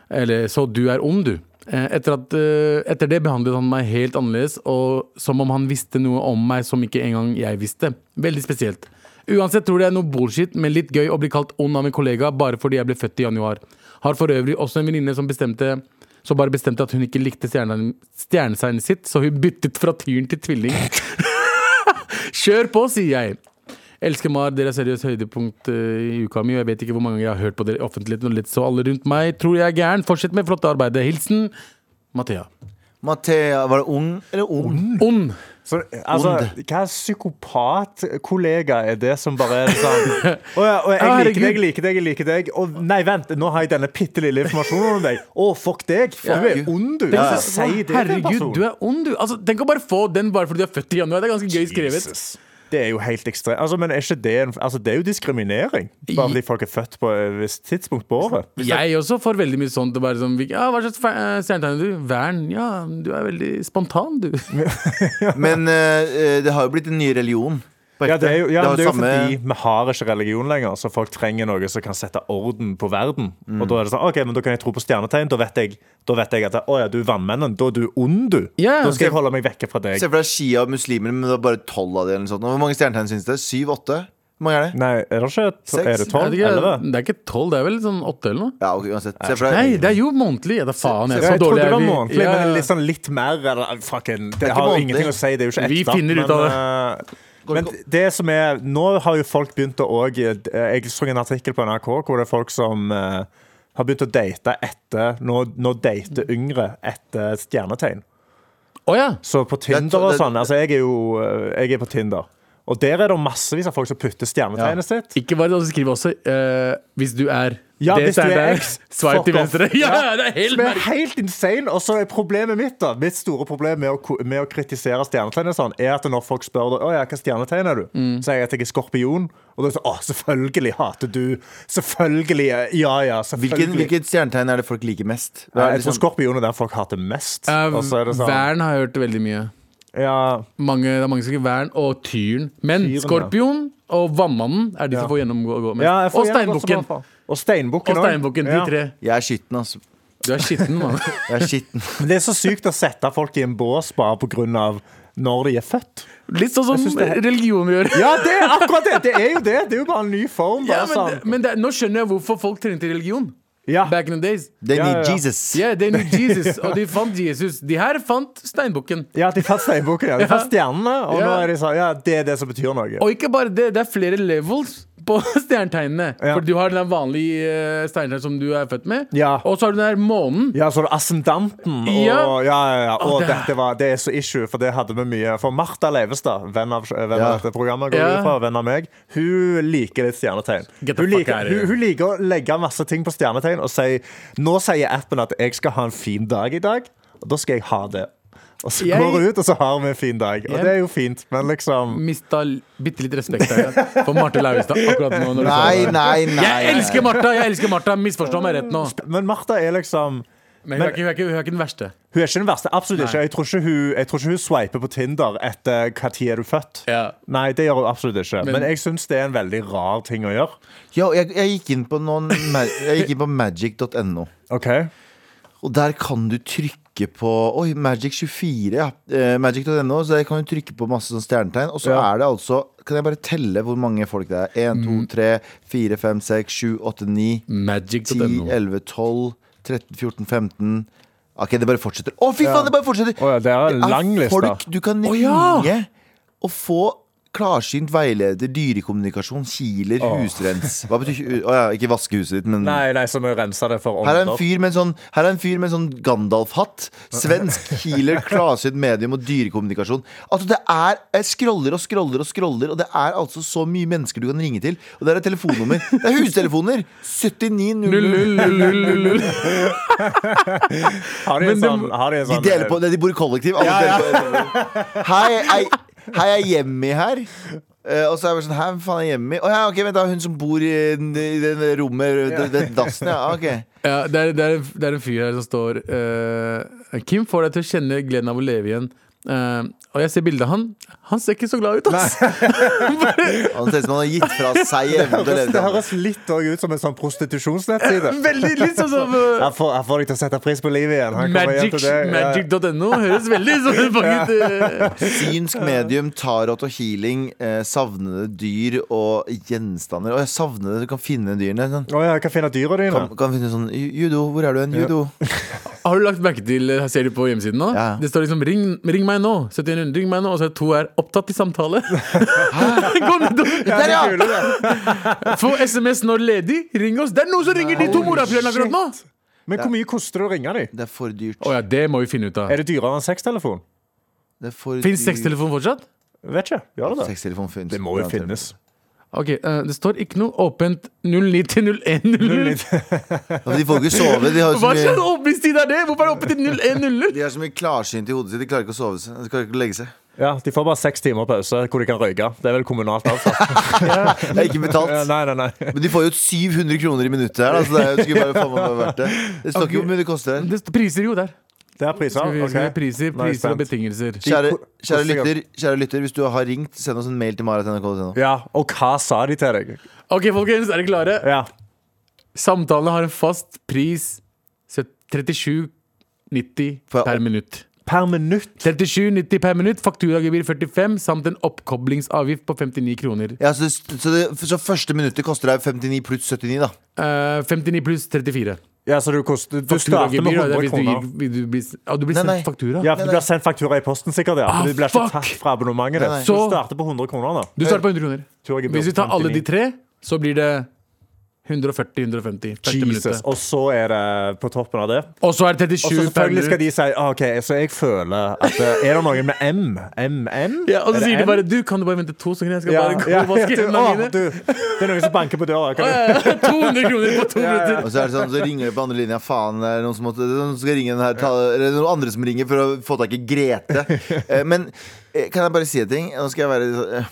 Eller 'Så du er ond, du'. Eh, Etter, at, eh, etter det behandlet han meg helt annerledes, og som om han visste noe om meg som ikke engang jeg visste. Veldig spesielt. Uansett tror det er noe bullshit, men litt gøy å bli kalt ond av en kollega bare fordi jeg ble født i januar. Har for øvrig også en venninne som bestemte som bare bestemte at hun ikke likte stjerne- stjernetegnet sitt, så hun byttet fra tyren til tvilling. *laughs* Kjør på, sier jeg. Elsker Mar, dere er seriøst høydepunkt eh, i uka mi, og jeg vet ikke hvor mange ganger jeg har hørt på dere i offentligheten og litt så alle rundt meg. Tror jeg er gæren. Fortsett med flotte arbeidet. Hilsen Mathea.
Mathea, var det ung eller ung?
Ond.
Så, altså, hva psykopatkollega er det som bare er
*laughs*
sånn Å ja, og jeg liker deg, jeg liker deg, jeg liker deg. Og nei, vent, nå har jeg denne bitte lille informasjonen om deg. Å, fuck deg! Fuck, du er ond, du.
Ja.
Hva sier det til en
Herregud,
person?
du er ond, du. Altså, tenk å bare få den bare fordi du er født i januar. Det er ganske gøy skrevet.
Jesus. Det er jo helt ekstremt. Altså, men er ikke det, en, altså, det er jo diskriminering. Bare fordi folk er født på et visst tidspunkt på året.
Jeg også får veldig mye sånt. Det er bare sånn, ja, hva slags fe- eh, stjernetegn er du? Vern. Ja, du er veldig spontan, du.
Men eh, eh, det har jo blitt en ny religion. på
Ja,
ekte.
det er jo, ja, men
har
det er jo
samme-
fordi vi har ikke religion lenger, så folk trenger noe som kan sette orden på verden. Og da er det sånn, ok, men da kan jeg tro på stjernetegn. Da vet jeg, da vet jeg at å ja, du er vannmennen. Da er du ond, du.
Ja.
Da skal jeg holde meg vekke fra deg.
Se for deg Shia og muslimer, men det er bare tolv av dem. eller noe sånt. Hvor mange stjernetegn syns det? Syv? Åtte? Hvor mange er det?
Nei, er det ikke
Seks?
Er det tolv?
det, er
Elleve?
ikke, det er ikke tolv, det er vel sånn åtte eller noe?
Ja, ok, uansett. Se for deg
Nei, det er jo månedlig. Ja, da faen, jeg
Ja,
er
jeg
så
trodde
dårlig
det var
vi-
månedlig,
Ja,
men
ja.
litt sånn litt mer eller, fucking, Det,
er ikke
har
månedlig.
ingenting å si, det er jo ikke ekte.
Vi finner ut av
det. eh, Men det som er Nå har jo folk begynt å òg eh, Jeg så en artikkel på NRK hvor det er folk som eh, har begynt å date etter Nå, nå dater yngre etter stjernetegn.
Å ja.
Så på
Det er to-
Tinder og
det-
sånn Altså, jeg er jo eh, Jeg er på Tinder. Og der er det massevis av folk som putter stjernetegnet sitt.
Ikke bare det, de skriver også eh, hvis du er
Ja,
det
hvis du
stjernet
er
der, *laughs*
X,
Swipe
fuck
til
off.
venstre. Ja, det er helt
Som er
merkelig.
helt insane. Og så er problemet mitt da Mitt store problem med å, ko- med å kritisere stjernetegn og sånn, er at når folk spør deg, «Å ja, hva stjernetegn er du,
Mm.
så sier jeg at jeg er skorpion. Og da er det sånn Å, selvfølgelig hater du. Selvfølgelig. Ja ja, selvfølgelig.
Hvilken, hvilket stjernetegn er det folk liker mest? Det
Nei,
er
jeg tror
liksom,
skorpion er den folk hater mest.
Eh,
og så er det sånn
Vern har jeg hørt veldig mye.
ja,
Mange, det er mange som skriver vern og tyren. Men
Tyren, ja.
skorpion og vannmannen er de
Ja.
som får gjennomgå gå mest.
ja, jeg får
og
gjerne godt
steinbukken.
svar på. Og steinbukken
Og
også.
steinbukken, de
Ja.
tre.
jeg er skitten, altså.
Du er skitten,
*laughs*
mann.
Jeg er skitten.
Men Det er så sykt å sette folk i en bås bare på grunn av når de er født.
Litt sånn
synes
som
det er-
religion gjør.
Ja, det er akkurat det! Det er jo det. Det er jo bare en ny form.
*laughs* Ja,
Bare
men
sånn.
men det, nå skjønner jeg hvorfor folk trengte religion.
Ja.
Back in the
*laughs*
days.
They
Ja,
need
ja, ja.
Jesus.
Yeah, they knew Jesus, og de fant Jesus. De her fant steinbukken.
Ja, de fant steinbukken, ja. De fant stjernene, og
Ja.
nå er de sånn Ja, det er det som betyr noe.
Og ikke bare det, det er flere levels på *laughs* stjernetegnene.
Ja.
For du har den der vanlige eh, stjernetegn som du er født med,
Ja.
og så har du den der månen.
Ja, så er det ascendanten og Ja,
Ja.
ja, ja. Og
Å, det-
dette var, det er så issue, for det hadde vi mye. For Martha Leivestad, venn av, venn av
Ja.
dette programmet, går
Ja.
ut fra, venn av meg, hun liker litt stjernetegn.
Get the
Hun
fuck
liker,
out of
hun,
here.
hun liker å legge masse ting på stjernetegn og si Nå sier appen at jeg skal ha en fin dag i dag, og da skal jeg ha det. Og så
Jeg-
går hun ut, og så har vi en fin dag. Og
Jeg-
det er jo fint, men liksom
Mista l- bitte litt respekt her, for Marte Lauvestad akkurat nå. Når du sa
Nei,
det.
nei, nei.
Jeg elsker Martha! jeg elsker Martha Misforstå meg rett nå.
Men Martha er liksom
Men hun er ikke, hun er ikke, hun er ikke den verste.
Hun er ikke den verste. Absolutt
Nei.
ikke. Jeg tror ikke, hun, jeg tror ikke hun swiper på Tinder etter hva tid er du født.
Ja.
Nei, det gjør hun absolutt ikke. Men,
Men-
jeg syns det er en veldig rar ting å gjøre.
Ja, jeg, jeg gikk inn på, noen ma- jeg gikk inn på magic.no,
Ok
og der kan du trykke på Oi, Magic24, ja. Eh, Magic.no. Så der kan du trykke på masse sånn stjernetegn, og så
Ja.
er det altså Kan jeg bare telle hvor mange folk det er? 1,
Mm.
2, 3, 4, 5, 6, 7, 8, 9, 10,
Magic.no.
11, 12, 13, 14, 15 OK, det bare fortsetter. Å, fy faen, det bare fortsetter!
Å ja, det er en lang liste.
folk du kan ringe
ja!
og få klarsynt veileder, dyrekommunikasjon, kiler, husrens. Hva betyr ikke Å ja, ikke vaske huset ditt, men
Nei, nei, så må jeg rense det for
her er, en
ånder.
fyr med en sånn, her er en fyr med en sånn Gandalf-hatt.
*laughs*
Svensk healer, klarsynt medium og dyrekommunikasjon. Altså det er, Jeg scroller og scroller og scroller, og det er altså så mye mennesker du kan ringe til. Og det er et telefonnummer. Det er hustelefoner! 7900.
Har de en
det-
sånn, har de
De
en sånn
deler på, de bor i kollektiv. Alle deler på Hei, jeg, hei, jeg er hjemme her. Eh, og så er jeg bare sånn Hæ, hvem faen er hjemme? Å ja, ok, vent da, hun som bor i, den- i den rommet, den, den dassen, ja. Ok.
Ja, det, er, det, er, en- det er en fyr her som står eh, Kim får deg til å kjenne gleden av å leve igjen. Eh, og jeg ser bildet av han. Han ser ikke så glad ut, ass.
Han ser ut som han har gitt fra seg evnen til å leve.
Det
sammen.
høres litt òg ut som en sånn *laughs* prostitusjonsnettside.
*laughs* Veldig litt sånn som eh,
Her får, her får deg til å sette pris på livet igjen. Her kommer jeg
Magic-
hjem til det. Ja.
Magic.no
*laughs*
høres veldig sånn ut som en pakket eh,
Synsk medium, tarot og healing, eh, savnede dyr og gjenstander. Å, jeg savnede, du kan finne dyrene. Sånn.
Å ja, hva finner dyra dine?
Kan, kan finne sånn Judo, hvor er du hen? Judo.
Har du lagt merke til eh, Ser du på hjemmesiden nå?
Ja.
Det står liksom 'ring, ring meg nå'. 71 ring meg nå Og så er det to er opptatt i
*laughs*
samtale. Gå ned og
Der, ja!
Få SMS når ledig. Ring oss. Det er noen som ringer de to morapulerne akkurat nå!
Men hvor mye koster det å ringe dem?
Det er for dyrt.
Å ja, det må vi finne ut av.
Er det dyrere enn sextelefon?
Det er for
Fins
dyrt.
sextelefon fortsatt?
Vet ikke. Gjør det det?
Sextelefon finnes.
Det må jo finnes.
Ok, eh, Det står ikke noe åpent 09 til
*laughs*
0100.
Ja, men de får ikke sove. De har jo
Altså,
Hva
så
slags
mye,
åpningstid er det? Hvorfor er det åpent til 0100?
*laughs*
de har så mye klarsynt i hodet sitt. De klarer ikke å sove seg. De klarer ikke å legge seg.
Ja, De får bare seks timer pause hvor de kan røyke. Det er vel kommunalt altså. avsatt.
Det er ikke
*laughs* Ja,
betalt.
nei, nei, nei.
Men de får jo 700 kroner i minuttet her. da, så det er jo- det skulle bare faen meg vært det. Det står ikke hvor mye det koster.
Det står priser jo der.
Det er priser.
Skal vi, skal vi
Ah, ok.
priser,
Nå er jeg
priser og
spent.
betingelser.
Kjære, kjære,
Hvordan-
lytter, kjære lytter, hvis du har ringt, send oss en mail til marat.nrk.no.
Ja, Og hva sa de til deg?
Ok, folkens, er dere klare?
Ja.
Samtalene har en fast pris 37,90
For-
per minutt.
Per minutt.
37,90 per minutt, fakturagebyr 45 samt en oppkoblingsavgift på 59 kroner.
Ja, så, så, det, så første minuttet koster deg 59 pluss 79, da.
Eh, 59 pluss 34.
Ja, så Du, koster, du starter med
Fakturagebyr, da,
100
det er hvis du
kroner.
gir- hvis du blir, ja, du blir
Nei, nei.
sendt faktura.
Ja, for Du blir sendt faktura i posten, sikkert. ja For
Ah,
Du blir ikke
fuck!
tatt fra abonnementet.
Nei, nei.
ditt. Så
Så-
du starter på 100 kroner. da
Du starter på 100 kroner.
Fakturagebyr
Hvis vi tar alle
59.
de tre, så blir det 140-150.
Jesus. Og så er det på toppen av det.
Og så er det
Og så
37 per
selvfølgelig skal de
minutt.
si ah, OK, så jeg føler at eh, Er det noen med M? MM?
Ja, og så
Er det
sier
M?
de bare Du, kan du bare vente to sekunder? Jeg skal
ja,
bare gå
ja,
og vaske
du, *laughs*
hendene
å,
mine.
du, Det er noen som banker på døra. Kan du?
200 kroner på *laughs* to minutter.
Og så, er det sånn, så ringer det på andre linja. Faen, det er noen som, måtte, det er noen som skal ringe den her ta, Eller noen andre som ringer for å få tak i Grete. Eh, Men eh, kan jeg bare si en ting? Nå skal jeg være eh,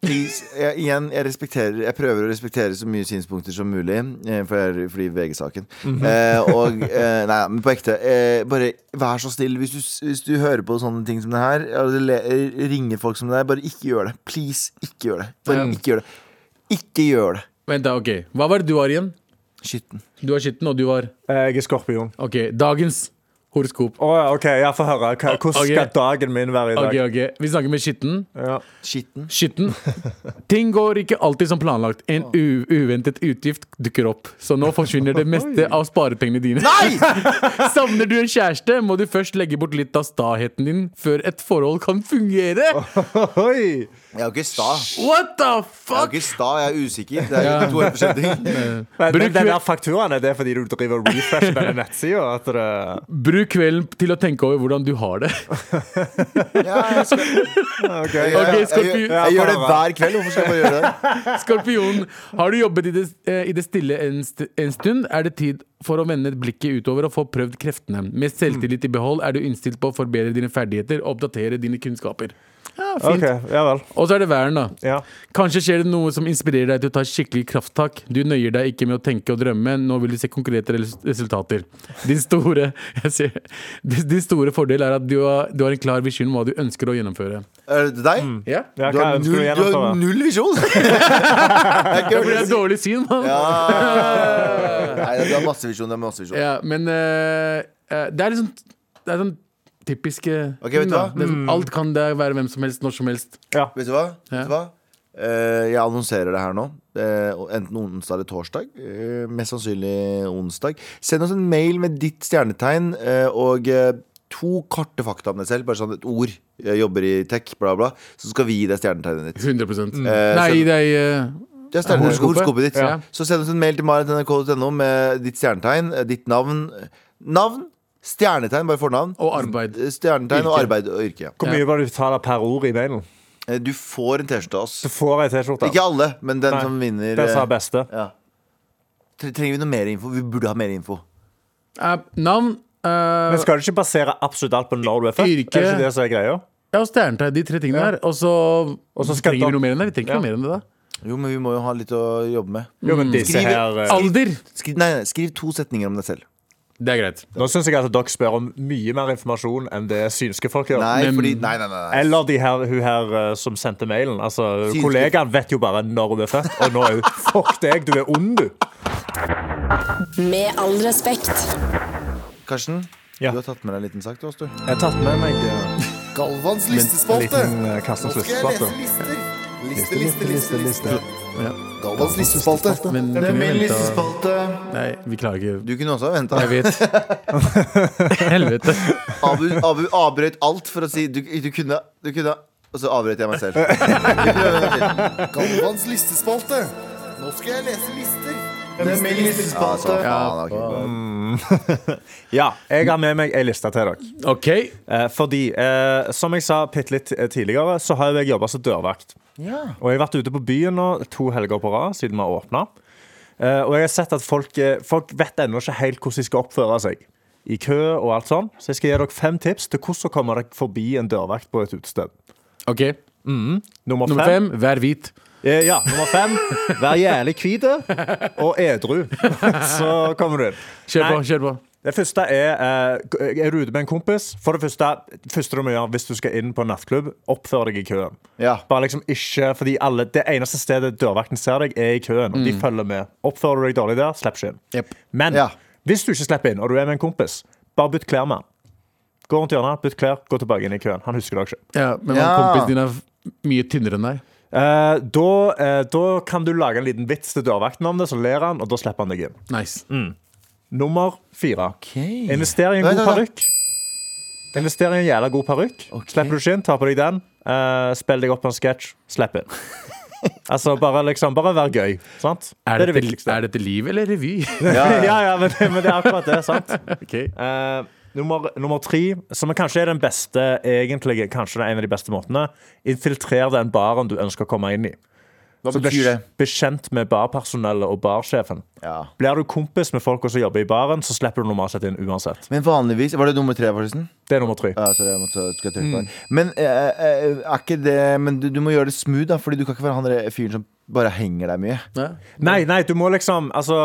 Please. Jeg, igjen, jeg respekterer Jeg prøver å respektere så mye synspunkter som mulig, eh, for jeg er fordi VG-saken. eh, og eh, Nei, men på ekte. Eh, bare vær så snill, hvis du, s- hvis du hører på sånne ting som det her, eller le- eh, ringer folk som det her, bare ikke gjør det. Please, ikke gjør det. Bare ikke gjør det. Ikke gjør det.
Vent, da, ok. Hva var det du var igjen?
Skitten.
Du var skitten, og du var
Eh, Jeg er skorpion.
Ok, dagens horoskop.
Å, ja, OK, jeg får høre. Hva, hvordan
Ok.
skal dagen min være i dag?
Ok, ok. Vi snakker med skitten.
Ja. *laughs*
Skitten. *laughs*
*laughs* Skitten. Ting går ikke alltid som planlagt. En u uventet utgift dukker opp. Så nå forsvinner
*laughs*
det meste av sparepengene dine. *laughs* Savner du en kjæreste, må du først legge bort litt av staheten din før et forhold kan fungere.
Oi!
Jeg er jo ikke sta.
What the
Jeg er jo
fuck?
ikke sta, jeg er usikker. Det er jo to helt
*laughs*
forskjellige ting.
Men, men
Bruk-
den der fakturaen, er det fordi du driver og refresher
*laughs*
denne nettsida? at det-
Bruk kvelden til å tenke over hvordan du har det.
Ja, jeg, skal,
Ok.
jeg, jeg, jeg,
Skorpion.
jeg, gjør det hver kveld. Hvorfor skal jeg bare gjøre det?
Skorpion, har du jobbet i det, eh, i det stille en, st en stund, er det tid for å vende blikket utover og få prøvd kreftene. Med selvtillit i behold er du innstilt på å forbedre dine ferdigheter og oppdatere dine kunnskaper. Ja,
OK,
fint.
ja vel.
Og så er det væren, da.
Ja.
Kanskje skjer det noe som inspirerer deg til å ta skikkelig krafttak. Du nøyer deg ikke med å tenke og drømme, nå vil du se konkrete res- resultater. Din store, *laughs* jeg ser, din din store fordel er at du har, du har en klar visjon om hva du ønsker å gjennomføre.
Er det deg?
Ja?
Mm. ja
Du
hva
har
ønsker du
null, du har
gjennom?
null
*laughs*
visjon! Jeg er ikke
Det
hørt
er
det.
dårlig syn, mann!
Ja. Nei, du har masse visjon. Du har masse visjon.
Ja, men eh, eh, det er liksom Det er sånn typisk eh,
Ok, vet du
da.
hva?
Det er sånn, alt kan det være hvem som helst, når som helst.
Vet du hva? Vet
Ja.
du hva? Eh, jeg annonserer det her nå. Eh, og enten onsdag eller torsdag. Eh, mest sannsynlig onsdag. Send oss en mail med ditt stjernetegn eh, og eh, to korte fakta om deg selv. Bare sånn et ord. Jeg jobber i tech, bla, bla. Så skal vi gi deg stjernetegnet ditt.
100
Eh,
Nei,
så-
det er eh,
Det er stjerne-
Horoskopet.
horoskopet ditt.
Ja.
Så send oss en mail til marit.nrk.no med ditt stjernetegn, eh, ditt navn. Navn, stjernetegn, bare fornavn.
Og arbeid.
Stjernetegn og
Yrke.
arbeid og yrke. ja.
Hvor mye var det du betaler per ord i mailen?
Eh, Du får en T-skjorte av oss.
Du får ei T-skjorte.
Ikke alle, men den
Nei,
som vinner.
Den som
eh,
er beste.
ja. Tre- Trenger vi noe mer info? Vi burde ha mer info.
eh, navn eh,
Men skal du ikke basere absolutt alt på når du er født?
Yrke.
Er det ikke det som er greia?
Ja, og stjernetegn, de tre tingene der. Og så
så skal
trenger
da-
vi noe mer enn det. Vi trenger ikke
Ja.
noe mer enn det, da.
Jo, men vi må jo ha litt å jobbe med.
Jo,
Mm.
men disse
Skriv-
her eh,
Alder!
Skriv, nei, nei, skriv to setninger om deg selv.
Det er greit.
Nå syns jeg at dere spør om mye mer informasjon enn det synske folk gjør.
Nei,
Men-
fordi Nei, nei, nei. nei.
Eller de her, hun her eh, som sendte mailen. Altså,
Synske-
Kollegaen vet jo bare når hun er født, og nå er hun *laughs* Fuck deg, du er ond, du.
Med all respekt.
Karsten,
Ja.
du har tatt med deg en liten sak til oss, du.
Jeg har tatt med meg eh,
Galvans
en liten eh, Karstens listespalte.
lister.
Liste, liste, liste, liste.
Galvans listespalte.
Men
Det er
kunne vi
min
vente-
listespalte.
Nei, vi klarer ikke.
Du kunne også ha venta.
Jeg vet. Helvete.
Abu, Abu avbrøt alt for å si Du, du kunne, du kunne Og så avbrøt jeg meg
*laughs*
selv. Galvans listespalte. Nå skal jeg lese lister. Det er min listespalte. Ja, så, faen, ok.
Ja, jeg har med meg ei liste til dere.
OK.
Eh, fordi, eh, som jeg sa bitte litt eh, tidligere, så har jeg jobba som dørvakt. Og jeg har vært ute på byen nå to helger på rad siden vi har åpna. Eh, og jeg har sett at folk, eh, folk vet ennå ikke helt hvordan de skal oppføre seg i kø og alt sånn. Så jeg skal gi dere fem tips til hvordan komme dere forbi en dørvakt på et utested.
ok
Nummer
Nummer
fem.
fem, vær hvit.
Eh, ja, nummer fem. Vær jævlig hvit eh, og edru. *laughs* Så kommer du inn.
Kjør på.
Nei.
kjør på
Det første er eh, Er du ute med en kompis? For det første, første du må gjøre hvis du skal inn på en nattklubb, oppfør deg i køen.
Ja.
Bare liksom ikke, fordi alle, Det eneste stedet dørvakten ser deg, er i køen. Og de følger med. Oppfører du deg dårlig der, slipp ikke inn.
Jep.
Men
Ja.
hvis du ikke slipper inn, og du er med en kompis, bare bytt klær med han. Gå rundt hjørnet, bytt klær, gå tilbake inn i køen. Han husker deg ikke.
Ja, men
Ja.
kompisen din er f- mye tynnere enn deg.
Eh, da, eh, da kan du lage en liten vits til dørvakten om det, så ler han, og da slipper han deg inn.
Nice.
Nummer fire. Invester i en
Nei,
god
nei, nei.
parykk. Invester
*laughs*
i en jævla god parykk. Slipper du ikke inn, ta på deg den. eh, spill deg opp på en sketsj. Slipp inn. Altså, bare liksom, bare vær gøy. Sant?
Er
det
dette, liksom,
viktigste.
er dette liv eller revy?
*laughs* Ja, ja, men, det, men det er akkurat det. sant?
*laughs* Ok.
Eh, nummer, nummer tre, som kanskje er den beste egentlig, Kanskje det er en av de beste måtene. Infiltrer den baren du ønsker å komme inn i.
Hva
Så bli
betyr det?
bekjent med barpersonellet og barsjefen.
Ja.
Blir du kompis med folk som jobber i baren, så slipper du normalt sett inn uansett.
Men vanligvis Var det nummer tre, forresten?
Det er nummer tre.
Ja, sorry, jeg måtte, skulle jeg trykke
Mm.
på det. Men, eh, eh, er ikke det, men du, du må gjøre det smooth, da, Fordi du kan ikke være han der fyren som bare henger deg mye.
Ja.
Nei, nei, du må liksom altså,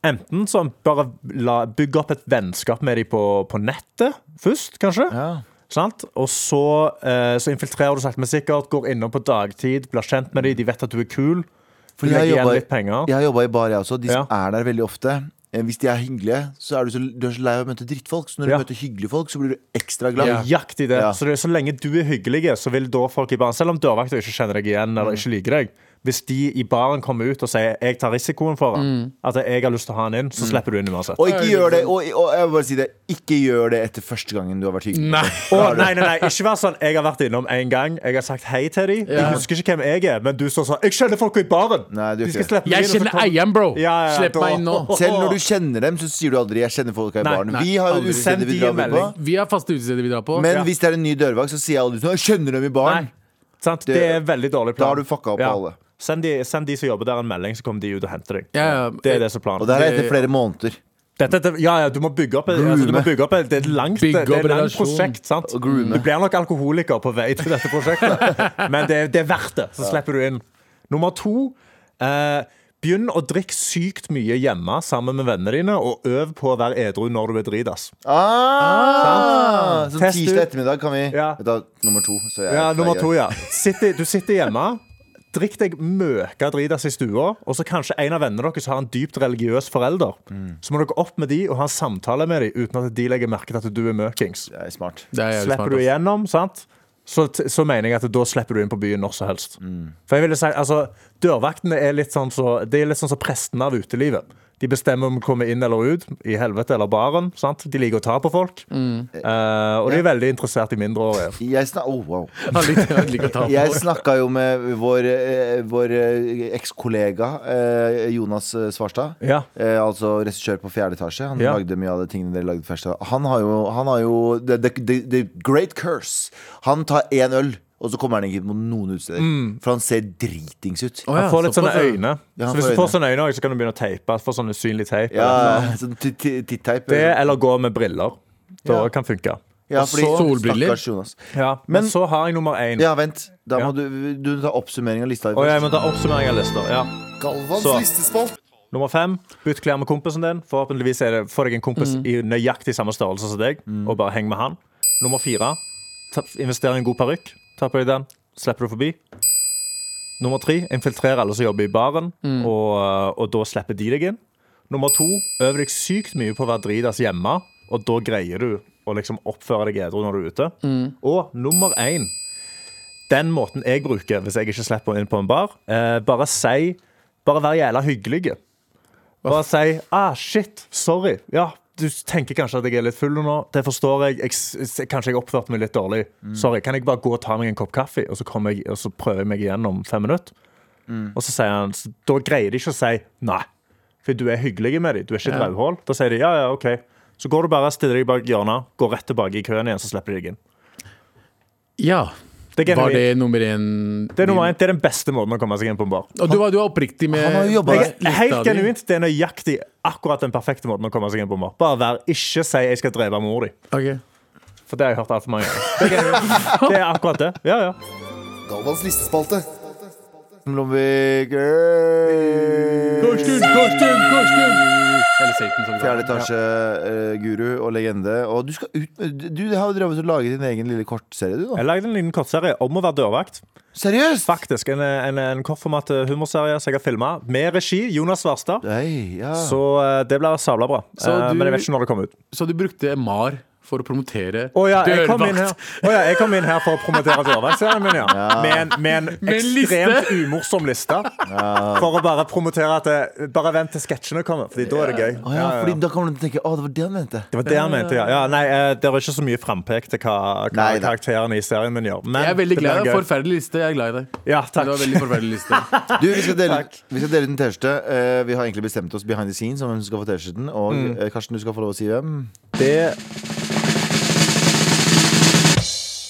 Enten sånn bare la, bygge opp et vennskap med dem på, på nettet først, kanskje. Sant? Og så, eh, så infiltrerer du sakte, men sikkert. Går innom på dagtid, blir kjent med dem. De vet at du er kul.
Jeg har
Du legger igjen
jobbet-
litt penger.
Jeg har jobba i bar, jeg også. De som
Ja.
er der veldig ofte. eh, Hvis de er hyggelige, så er du så, du er så lei av å møte drittfolk. Så når
Ja.
du møter hyggelige folk, så blir du ekstra glad.
Ja.
Jakt i det.
Ja.
Så, det, så lenge du er hyggelig, så vil da folk i baren Selv om dørvakta ikke kjenner deg igjen
Mm.
eller ikke liker deg. Hvis de i baren kommer ut og sier 'jeg tar risikoen for
Mm.
han', at jeg har lyst til å ha han inn, så slipper du inn uansett.
Og ikke gjør det og, og jeg vil bare si det Ikke gjør det etter første gangen du har vært hyggelig.
Nei.
Å, nei, nei, nei, ikke vær sånn. Jeg har vært innom en gang. Jeg har sagt hei til dem. Jeg
Ja.
husker ikke hvem jeg er, men du står sånn. Jeg kjenner folk i baren.
Nei, du
de
gjør
skal
ikke
slippe
Jeg
meg inn, og så
kjenner
kommer-
eieren, bro!
Ja, ja, ja,
Slipp
da-
meg inn nå.
Selv når du kjenner dem, så sier du aldri 'jeg kjenner folk her i
Nei,
baren'.
nei,
Vi har jo
aldri.
utesteder vi
Send de en
drar på.
melding.
Vi har faste utesteder vi drar på.
Men
Ja.
hvis det er en ny dørvakt, så sier jeg aldri sånn 'jeg kjenner dem i baren'.
Nei. Sant? Det er en veldig dårlig
Da
plan.
har du fucka opp alle.
Send de, send de som jobber der, en melding, så kommer de ut og henter deg.
Ja, ja.
Det er det som er planen.
Og det her er etter flere måneder.
Dette, dette, ja, ja, du må bygge opp, altså, du må bygge opp Det er et langt, det
Bygge
er et
opp
langt
relasjon.
prosjekt. Sant? Du blir nok alkoholiker på vei til
*laughs*
dette prosjektet, men det, er- det er verdt det. Så slipper du inn. Nummer to eh, Begynn å drikke sykt mye hjemme sammen med vennene dine, og øv på å være edru når du er dritass.
Ah, så
Test
tirsdag
ut.
ettermiddag kan vi
Ja.
Vet du, hva, nummer to. Så jeg,
Ja, nummer
jeg-
to, ja. Sitter, du sitter hjemme, drikk deg møka dritass i stua, og så kanskje en av vennene deres har en dypt religiøs forelder.
Mm.
Så må dere opp med de og ha en samtale med de uten at de legger merke til at du er møkings.
Det er smart.
Det er jævlig
slipper
smart,
du
*laughs* ass.
igjennom, sant? Så, t- så mener jeg at da slipper du inn på byen når som helst.
Mm.
For jeg ville si, altså, Dørvaktene er litt sånn så, det er litt sånn som prestene av utelivet. De bestemmer om du kommer inn eller ut, i helvete eller baren. sant? De liker å ta på folk.
Mm.
Eh, og de er veldig interessert i mindreårige.
Jeg, snak oh, wow.
Han liker, han liker å ta
jeg
på.
snakka jo med vår, eh, vår eh, ekskollega eh, Jonas eh, Svarstad.
Ja.
Eh, altså regissør på fjerde etasje. Han
Ja.
lagde mye av de tingene dere lagde først. Han har jo, han har jo the, the, the, the great curse. Han tar én øl, og så kommer han ikke på noen utesteder.
Mm.
For han ser dritings ut.
Å, ja,
Han får litt sånne
såpass, ja.
øyne.
Ja, han
så hvis
får
du får
øyne.
sånne øyne, også, så kan du begynne å teipe. Få sånn usynlig teip.
Ja,
eller noe.
sånn tit- tit- titteip.
Det, eller gå med briller. Det
Ja.
kan funke.
Ja, fordi-
altså
solbriller.
Stakkars Jonas.
Ja, men,
Men-
så har jeg nummer én.
Ja, vent. Da
Ja.
må du, du ta oppsummering av lista. di
Og jeg
først.
må ta oppsummering av lista. Ja.
Galvans
Så.
listespalt.
Nummer fem, bytt klær med kompisen din. Forhåpentligvis er det, får deg en kompis i nøyaktig samme størrelse som deg, og bare heng med han. Nummer fire, ta- invester i en god parykk. Ta på deg den, slipper du forbi. Nummer tre, infiltrer alle som jobber i baren, og, og da slipper de deg inn. Nummer to, øv deg sykt mye på å være dritas hjemme, og da greier du å liksom oppføre deg edru når du er ute. Og nummer én, den måten jeg bruker hvis jeg ikke slipper inn på en bar, eh, bare si Bare vær jævla hyggelige. Bare si ah, 'shit, sorry'. Ja, du tenker kanskje at jeg er litt full nå. Det forstår jeg. jeg s- s- kanskje jeg oppførte meg litt dårlig.
Mm.
Sorry, Kan jeg bare gå og ta meg en kopp kaffe, og så, kommer jeg, og så prøver jeg meg igjen om fem minutter?
Mm.
Og så sier han, så Da greier de ikke å si nei, for du er hyggelig med dem. Du er ikke et rødhål. Da sier de ja, ja, OK. Så går du bare, stiller deg bak hjørnet, går rett tilbake i køen igjen, så slipper de deg inn.
Ja.
Det er,
Var
genuint.
det nummer én?
det, er nummer én. det er den beste måten å komme seg inn på en bar.
Og du var, du var oppriktig med
Han har jo jobbet
Jeg,
lista
helt
di.
genuint, Det er nøyaktig akkurat den perfekte måten å komme seg inn på en bar. Bare vær, Ikke si 'jeg skal drepe mor di',
Ok.
for det har jeg hørt altfor mange ganger. Det er genuint. Det er akkurat det. Ja, ja.
Galvans listespalte.
Lommevik eh,
Karsten, Karsten, Karsten! Eller Satan, som
Fjerde etasje, eh, guru og legende. Og du, skal ut, med- du har jo drevet og laget din egen lille kortserie, du, da.
Jeg lagde en liten kortserie om å være dørvakt.
Seriøst!
Faktisk, En, en, en kortformat eh, humorserie som jeg har filma, med regi Jonas Svarstad.
Nei, ja.
Så eh, det blir sabla bra.
Så
Eh,
du-
Men jeg vet ikke når det kommer ut.
Så du brukte MAR for å promotere
Å ja, jeg kom inn her,
dørvakt.
Å ja, jeg kom inn her for å promotere dørvaktserien min, ja. Med en, med en
Med en liste.
ekstremt umorsom liste. For å bare promotere at det, Bare vent til sketsjene kommer, Fordi da er det gøy.
Å ja, fordi da kan man tenke Å, det var det han mente.
Det var det han mente, ja. ja nei, eh, det er ikke så mye frampek til hva, hva
Nei, nei.
karakterene i serien min gjør. Men
Jeg er veldig
det
glad i
blir
deg.
gøy.
Forferdelig liste. Jeg er glad i deg.
Ja, takk.
Det var veldig forferdelig
*laughs*
liste.
Du, vi skal dele,
Takk.
vi skal dele ut en T-skjorte. Eh, vi har egentlig bestemt oss behind the scenes om hvem som skal få T-skjorten. Og
Mm.
eh, Karsten, du skal få lov å si hvem.
Det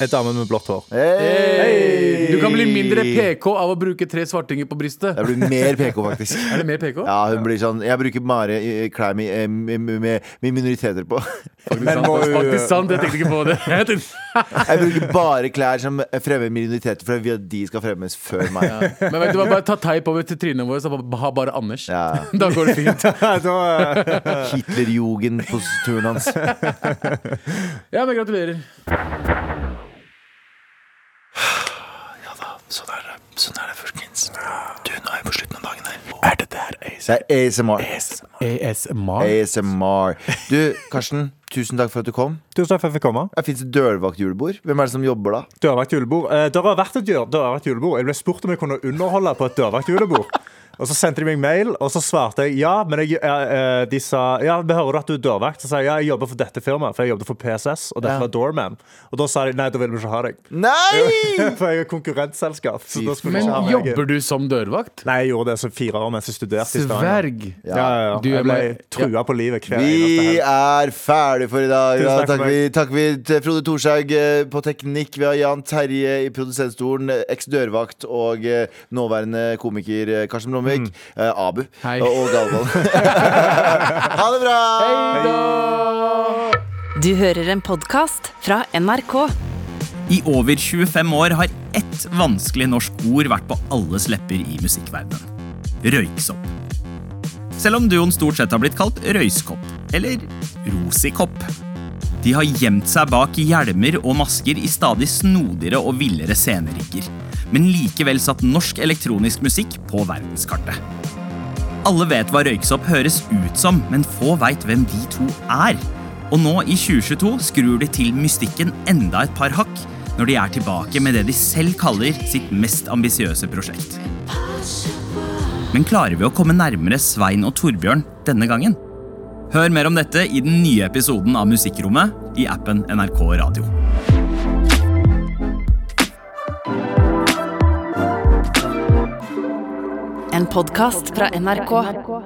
er damen med blått hår.
Hey!
Du kan bli mindre PK av å bruke tre svartinger på brystet.
Jeg blir mer PK, faktisk.
*laughs* Er det mer PK?
Ja, hun blir sånn Jeg bruker bare eh, klær med, eh, med, med, med minoriteter på. *laughs*
Faktisk
Men
sant,
må jo-
Faktisk sant, jeg tenkte ikke
*laughs*
på det. Jeg tenkte-
Jeg bruker bare klær som fremmer minoriteter, for jeg vil at de skal fremmes før meg. Ja.
Men vet du hva, bare ta teip over til trynet vårt, så ba- ha bare Anders. *laughs* Da går det fint.
*laughs* da, eh,
Hitlerjugend på turen hans.
Ja, men gratulerer.
Sånn er det, sånn er det, folkens. Du, nå er vi på slutten av dagen her. Er dette her ASMR? Det er ASMR.
ASMR.
ASMR. Du, Karsten, tusen takk for at du kom.
Tusen takk for at jeg fikk komme.
Det fins dørvaktjulebord. Hvem er det som jobber da?
Dørvakt julebord. Eh, Det har vært et dør- dørvakt julebord. Jeg ble spurt om jeg kunne underholde på et dørvakt julebord. Og så sendte de meg mail, og så svarte jeg ja. Men jeg, eh, eh, de sa ja, vi hører at du er dørvakt. Så sa jeg ja, jeg jobber for dette firmaet, for jeg jobbet for PSS, og dette
Ja.
var doorman. Og da sa de nei, da vil vi ikke ha deg. *laughs*
*laughs*
Nei!
For jeg er konkurrentselskap. Så da skulle de
Men
ikke ha meg.
jobber du som dørvakt?
Nei, jeg gjorde det som fire år mens jeg studerte i Stavanger.
Sverg.
Ja, ja, ja.
Du er
Jeg ble
meg-
trua på livet hver eneste
Vi
helg.
er ferdig for i dag.
Tusen
Ja,
takk for
takk, vi, takk vi til Frode Thorshaug eh, på teknikk. Vi har Jan Terje i produsentstolen, eh, eks-dørvakt og eh, nåværende komiker eh, Karsten Blomvik.
Mm.
Eh, Abu
Hei.
og- og
*laughs*
Galvan. *laughs* ha det bra!
Du hører en podkast fra NRK.
I over 25 år har ett vanskelig norsk ord vært på alles lepper i musikkverdenen. Røyksopp. Selv om duoen stort sett har blitt kalt Røyskopp, eller Rosikopp. De har gjemt seg bak hjelmer og masker i stadig snodigere og villere scenerigger, men likevel satt norsk elektronisk musikk på verdenskartet. Alle vet hva røyksopp høres ut som, men få veit hvem de to er. Og nå i 2022 skrur de til mystikken enda et par hakk når de er tilbake med det de selv kaller sitt mest ambisiøse prosjekt. Men klarer vi å komme nærmere Svein og Torbjørn denne gangen? Hør mer om dette i den nye episoden av Musikkrommet i appen NRK Radio.
En podkast fra NRK.